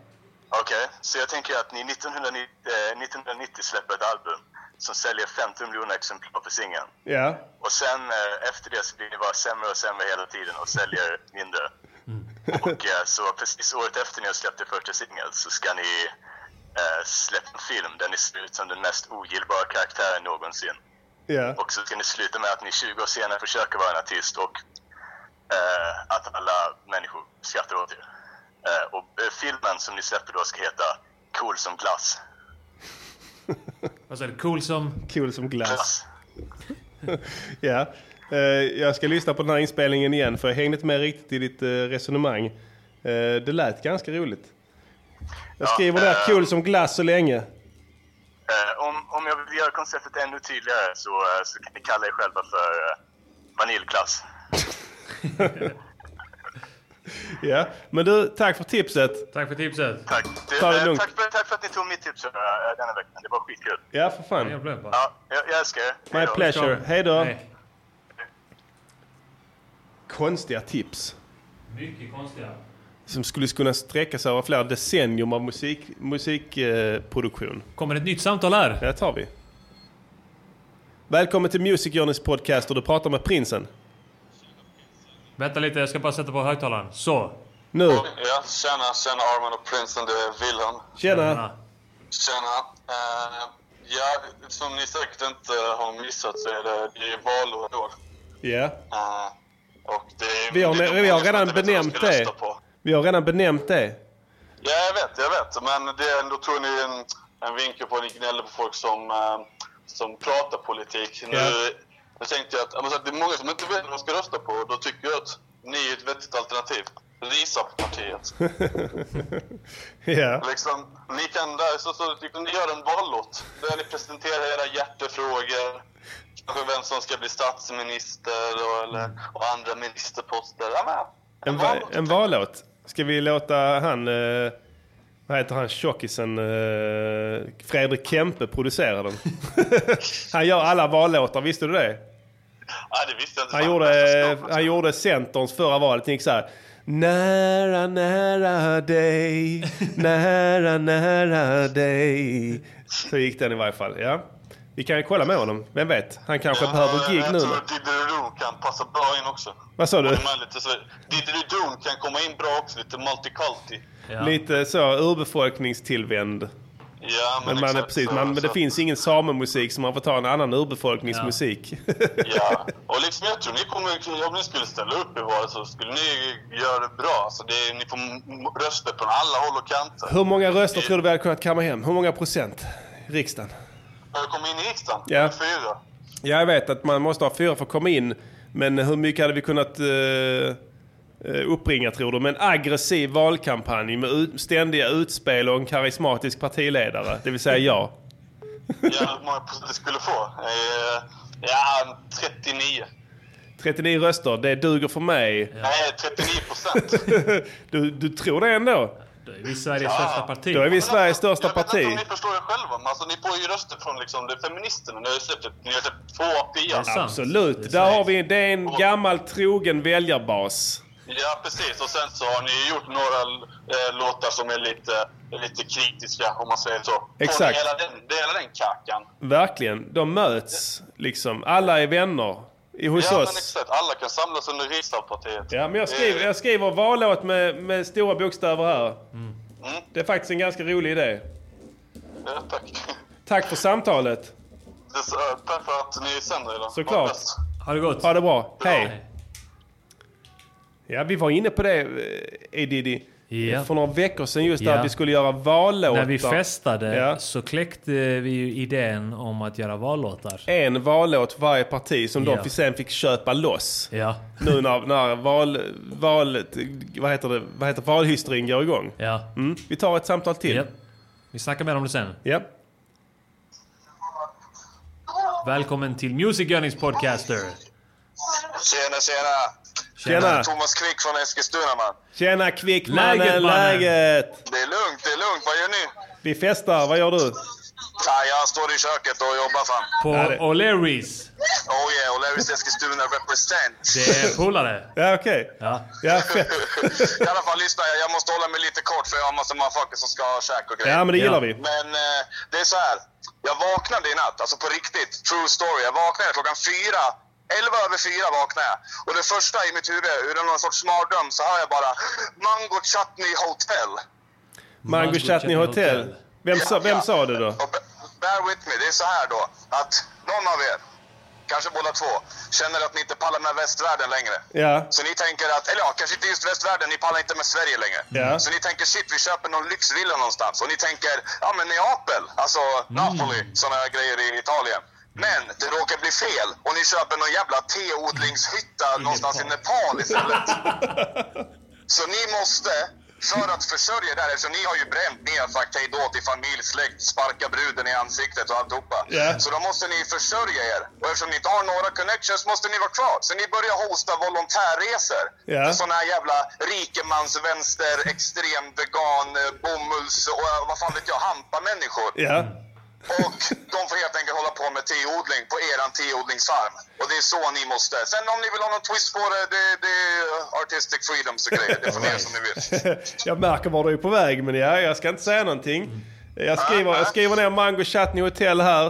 Okej, så jag tänker att ni 1990, eh, 1990 släpper ett album som säljer 50 miljoner exemplar på singeln.
Ja.
Och sen eh, efter det så blir ni bara sämre och sämre hela tiden och säljer mindre. Och eh, så precis året efter ni har släppt er första singel så ska ni eh, släppa en film där ni ser ut som den mest ogillbara karaktären någonsin.
Ja.
Och så ska ni sluta med att ni 20 år senare försöker vara en artist och eh, att alla människor skrattar åt er. Eh, och eh, filmen som ni släpper då ska heta Cool som glass.
Vad sa du? Cool som...
Cool som glass. ja. Eh, jag ska lyssna på den här inspelningen igen för jag hängde inte med riktigt i ditt eh, resonemang. Eh, det lät ganska roligt. Jag skriver där cool som glass så länge.
Eh, om, om jag vill göra konceptet ännu tydligare så, eh, så kan ni kalla er själva för eh, vaniljglass.
Ja. Men du, tack för tipset.
Tack för tipset.
Tack. Du,
Ta det
eh,
lugnt.
tack, för, tack för att ni tog mitt tips eh, denna veckan. Det var skitkul.
Ja, för fan.
Ja, jag, jag älskar er.
My
Hej då.
pleasure. Hej då. Konstiga tips.
Mycket konstiga.
Som skulle kunna sträcka sig över flera decennium av musikproduktion. Musik, eh, produktion.
Kommer ett nytt samtal här?
Eh, Det tar vi. Välkommen till Music Journeys podcast och du pratar med prinsen.
Vänta lite, jag ska bara sätta på högtalaren. Så.
Nu.
Ja, tjena, tjena Arman och Prinsen, det är Wilhelm.
Tjena.
Tjena. Eh, ja, som ni säkert inte har missat så är det, det är valår i år.
Ja.
Eh, och det är...
Vi har,
det är
vi har
många som
redan
inte vet vad de
benämnt
ska
det.
rösta på.
Vi har redan benämnt det.
Ja, jag vet, jag vet. Men det är ändå tog ni en, en vinkel på, ni gnäller på folk som, eh, som pratar politik. Nu, nu tänkte jag att, ja, men så att det är många som inte vet vad de ska rösta på. Då tycker jag att ni är ett vettigt alternativ. Risap-partiet.
[LAUGHS] ja.
Liksom, ni kan där, så, så liksom, ni gör en vallott där ni presenterar era hjärtefrågor. Kanske vem som ska bli statsminister och, eller, och andra ministerposter. Ja, men,
Mm. En, va en vallåt. Ska vi låta han... Eh, vad heter han tjockisen? Eh, Fredrik Kempe producera den. [LAUGHS] han gör alla vallåtar, visste du det?
nej, det visste jag inte.
Han gjorde, eh,
alltså.
han gjorde Centerns förra valet. Den gick så här. Nära, nära dig, nära, nära dig. Så gick den i varje fall. Ja. Vi kan ju kolla med honom. Vem vet? Han kanske behöver gig
jag
nu.
tror att Didderidoo kan passa bra in också.
Vad sa du?
Och de här lite så- Didderidoo kan komma in bra också, lite multiculti.
Lite så urbefolkningstillvänd.
Ja, men
men man är
exakt
precis,
så,
man, men det
så.
finns ingen samemusik så man får ta en annan urbefolkningsmusik.
Ja, och liksom jag tror ni kommer, om ni skulle ställa upp i valet så skulle ni göra det bra. Så det, är- ni får m- röster från alla håll och kanter.
[LAUGHS] Hur många röster tror du vi hade kunnat kamma hem? Hur många procent? i Riksdagen?
Har jag kommit in i riksdagen?
Ja.
Fyra?
Ja, jag vet att man måste ha fyra för att komma in. Men hur mycket hade vi kunnat eh, eh, uppringa tror du? Med en aggressiv valkampanj med ut, ständiga utspel och en karismatisk partiledare. Det vill säga jag.
Ja, hur många procent du skulle få? Eh, Ja, 39.
39 röster, det duger för mig.
Nej, 39 procent.
[LAUGHS] du, du tror det ändå?
Då är vi Sveriges största parti.
Då är vi Sveriges största parti.
Ni förstår ju själva, men alltså, ni får ju röster från liksom, det är feministerna. Ni har ju släppt, ett- ni har släppt två pia.
Absolut. Där har vi, det är en gammal trogen väljarbas.
Ja, precis. Och sen så har ni ju gjort några eh, låtar som är lite, lite kritiska, om man säger så. Får ni
Exakt.
Hela den, det är hela den kakan.
Verkligen. De möts liksom. Alla är vänner. I- hos
ja,
oss.
men exakt. Alla kan samlas under riksdagspartiet.
Ja, men jag skriver, jag skriver vallåt med, med stora bokstäver här.
Mm.
Det är faktiskt en ganska rolig idé.
Ja, tack. [LAUGHS]
Tack för samtalet.
Det är, så- tack för att ni sänder idag. Ha det
Såklart.
bäst.
Ha det gott. Ha det bra. Hej. Ja, vi var inne på det, eh, Edidi.
Ja.
För några veckor sedan just
Ja.
där att vi skulle göra vallåtar.
När vi festade
Ja.
så kläckte vi ju idén om att göra vallåtar.
En vallåt varje parti som
Ja.
de sen fick köpa loss.
Ja.
Nu när, när val, valet, vad heter det, vad heter valhysterin går igång.
Ja.
Mm. Vi tar ett samtal till.
Vi snackar mer om det sen.
Ja.
Välkommen till Music Gunnings Podcaster.
Tjena, tjena!
Tjena.
Thomas Quick från Eskilstuna man.
Tjena Kvickmannen, läget,
Läget, mannen?
läget!
Det är lugnt, det är lugnt. Vad gör ni?
Vi festar, vad gör du?
Ja, jag står i köket och jobbar fan.
På
Ja, det-
O'Learys.
Oh yeah, och Larrys Eskilstuna represent.
Det är polare.
Ja, okej.
Ja.
Ja, fett.
I alla fall, lyssna. jag- Jag måste hålla mig lite kort för jag har massa motherfuckers som ska ha käk och grejer.
Ja, men det gillar vi.
Men eh, det är så här. Jag vaknade i natt, alltså på riktigt. True story. Jag vaknade klockan fyra. Elva över fyra vaknade jag. Och det första i mitt huvud, ur någon sorts mardröm, så hör jag bara Mango Chutney Hotel.
Mango Chutney Hotel. Vem, sa, vem sa det då?
Bear with me, det är så här då att någon av er, kanske båda två, känner att ni inte pallar med västvärlden längre.
Ja.
Så ni tänker att, eller ja, kanske inte just västvärlden, ni pallar inte med Sverige längre.
Ja.
Så ni tänker shit, vi köper någon lyxvilla någonstans. Och ni tänker, ja men Neapel, alltså
Mm.
Napoli, sådana grejer i Italien. Men det råkar bli fel och ni köper någon jävla teodlingshytta
Mm.
någonstans i Nepal
[LAUGHS]
istället. Så ni måste, för att försörja det här, eftersom ni har ju bränt ner, sagt hej då till familj, släkt, sparka bruden i ansiktet och alltihopa.
Ja.
Så då måste ni försörja er. Och eftersom ni inte har några connections måste ni vara kvar. Så ni börjar hosta volontärresor.
Ja.
Till sådana här jävla rikemansvänster, extrem vegan, eh, bomulls och eh, vad fan vet jag, hampa-människor.
Ja. [LAUGHS]
Och de får helt enkelt hålla på med teodling på eran teodlingsfarm. Och det är så ni måste. Sen om ni vill ha någon twist på det, det, det är eh, artistic freedoms och grejer. Det får ni göra som ni vill.
jag märker var du är på väg, men ja, jag ska inte säga någonting. Jag skriver, jag skriver ner Mango Chutney Hotel här.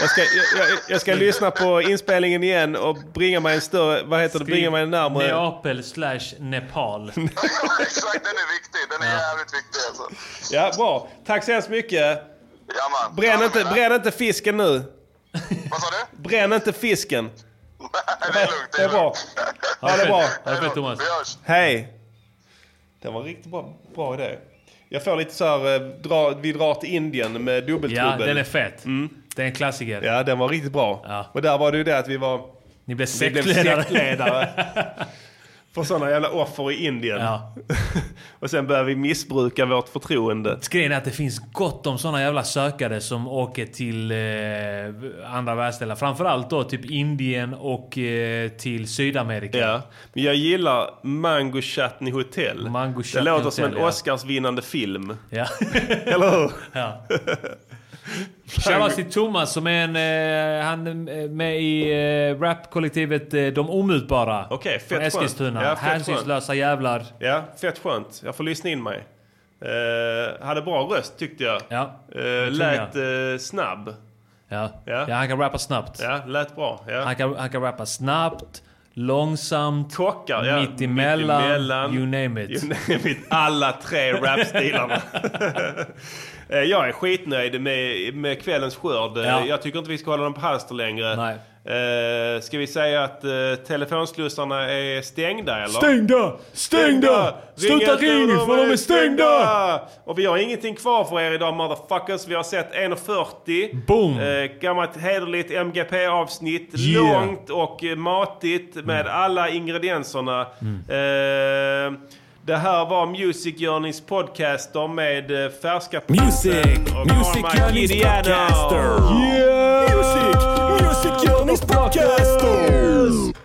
Jag ska, jag, jag, jag ska lyssna på inspelningen igen och bringa mig en större, vad heter det, bringa mig en närmare...
Neapel slash
[LAUGHS]
Nepal.
[LAUGHS] Exakt, den är viktig. Den är jävligt viktig alltså.
Ja, bra. Tack så hemskt mycket. Bränn inte, bränn inte fisken nu. Vad sa du? Bränn inte fisken.
[LAUGHS] det är lugnt.
Det är bra. Ja, det är bra.
Ha det fett Thomas.
Hej. Det var en riktigt bra, bra idé. Jag får lite så här, eh, dra, vi drar till Indien med dubbeltrubbel.
Ja, den är fet.
Mm.
Det är en klassiker.
Ja, den var riktigt bra. Och där var det ju det att vi var...
Ni blev
vi blev
sektledare.
sektledare för sådana jävla offer i Indien. [LAUGHS] och sen började vi missbruka vårt förtroende.
[LAUGHS] Grejen är att det finns gott om såna jävla sökare som åker till eh, andra världsdelar. Framförallt då typ Indien och eh, till Sydamerika.
Ja, men jag gillar Mango Chutney Hotel. Mango det
Chutney
låter som en
Hotel, ja.
Oscarsvinnande film.
[LAUGHS] Ja.
Eller hur?
Ja. Shoutout till Thomas som är en, eh, han är med i eh, rapkollektivet eh, De Omutbara.
Okej,
Från
fett skönt.
Eskilstuna.
Ja, fett
Hänsynslösa jävlar.
Ja, fett skönt. Jag får lyssna in mig. Eh, hade bra röst tyckte jag.
Ja,
Eh,
tror
lät eh, snabb.
Ja.
Ja.
ja, han kan rappa snabbt.
Ja, lät bra. Ja.
Han, kan, han kan rappa snabbt, långsamt,
Kockar, ja.
mittemellan,
Mittemellan.
you name it.
You name it. Alla
[LAUGHS]
tre rapstilarna. Eh, jag är skitnöjd med, med kvällens skörd. Eh,
Ja.
Jag tycker inte vi ska hålla dem på halster längre.
Nej.
Eh, ska vi säga att eh, telefonslussarna är stängda eller?
Stängda! Stängda! Sluta
inte,
ring för de är stängda!
Och vi har ingenting kvar för er idag motherfuckers. Vi har sett 1.40.
Boom!
Eh, gammalt hederligt MGP-avsnitt.
Yeah. Mm.
Långt och eh, matigt med alla ingredienserna. Eh, det här var Music Journeys podcaster med eh, färska
Music,
och
Music
Karma
Journeys
Gideano.
podcaster. Music, Music Journeys podcaster.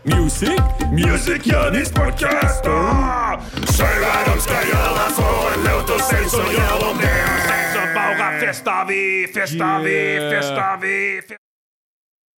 Music, Music Journeys podcaster. Ah! Säg vad de ska göra för en låt och sen så gör de det.
Bara festar vi, festar vi,
Yeah.
festar vi. fe-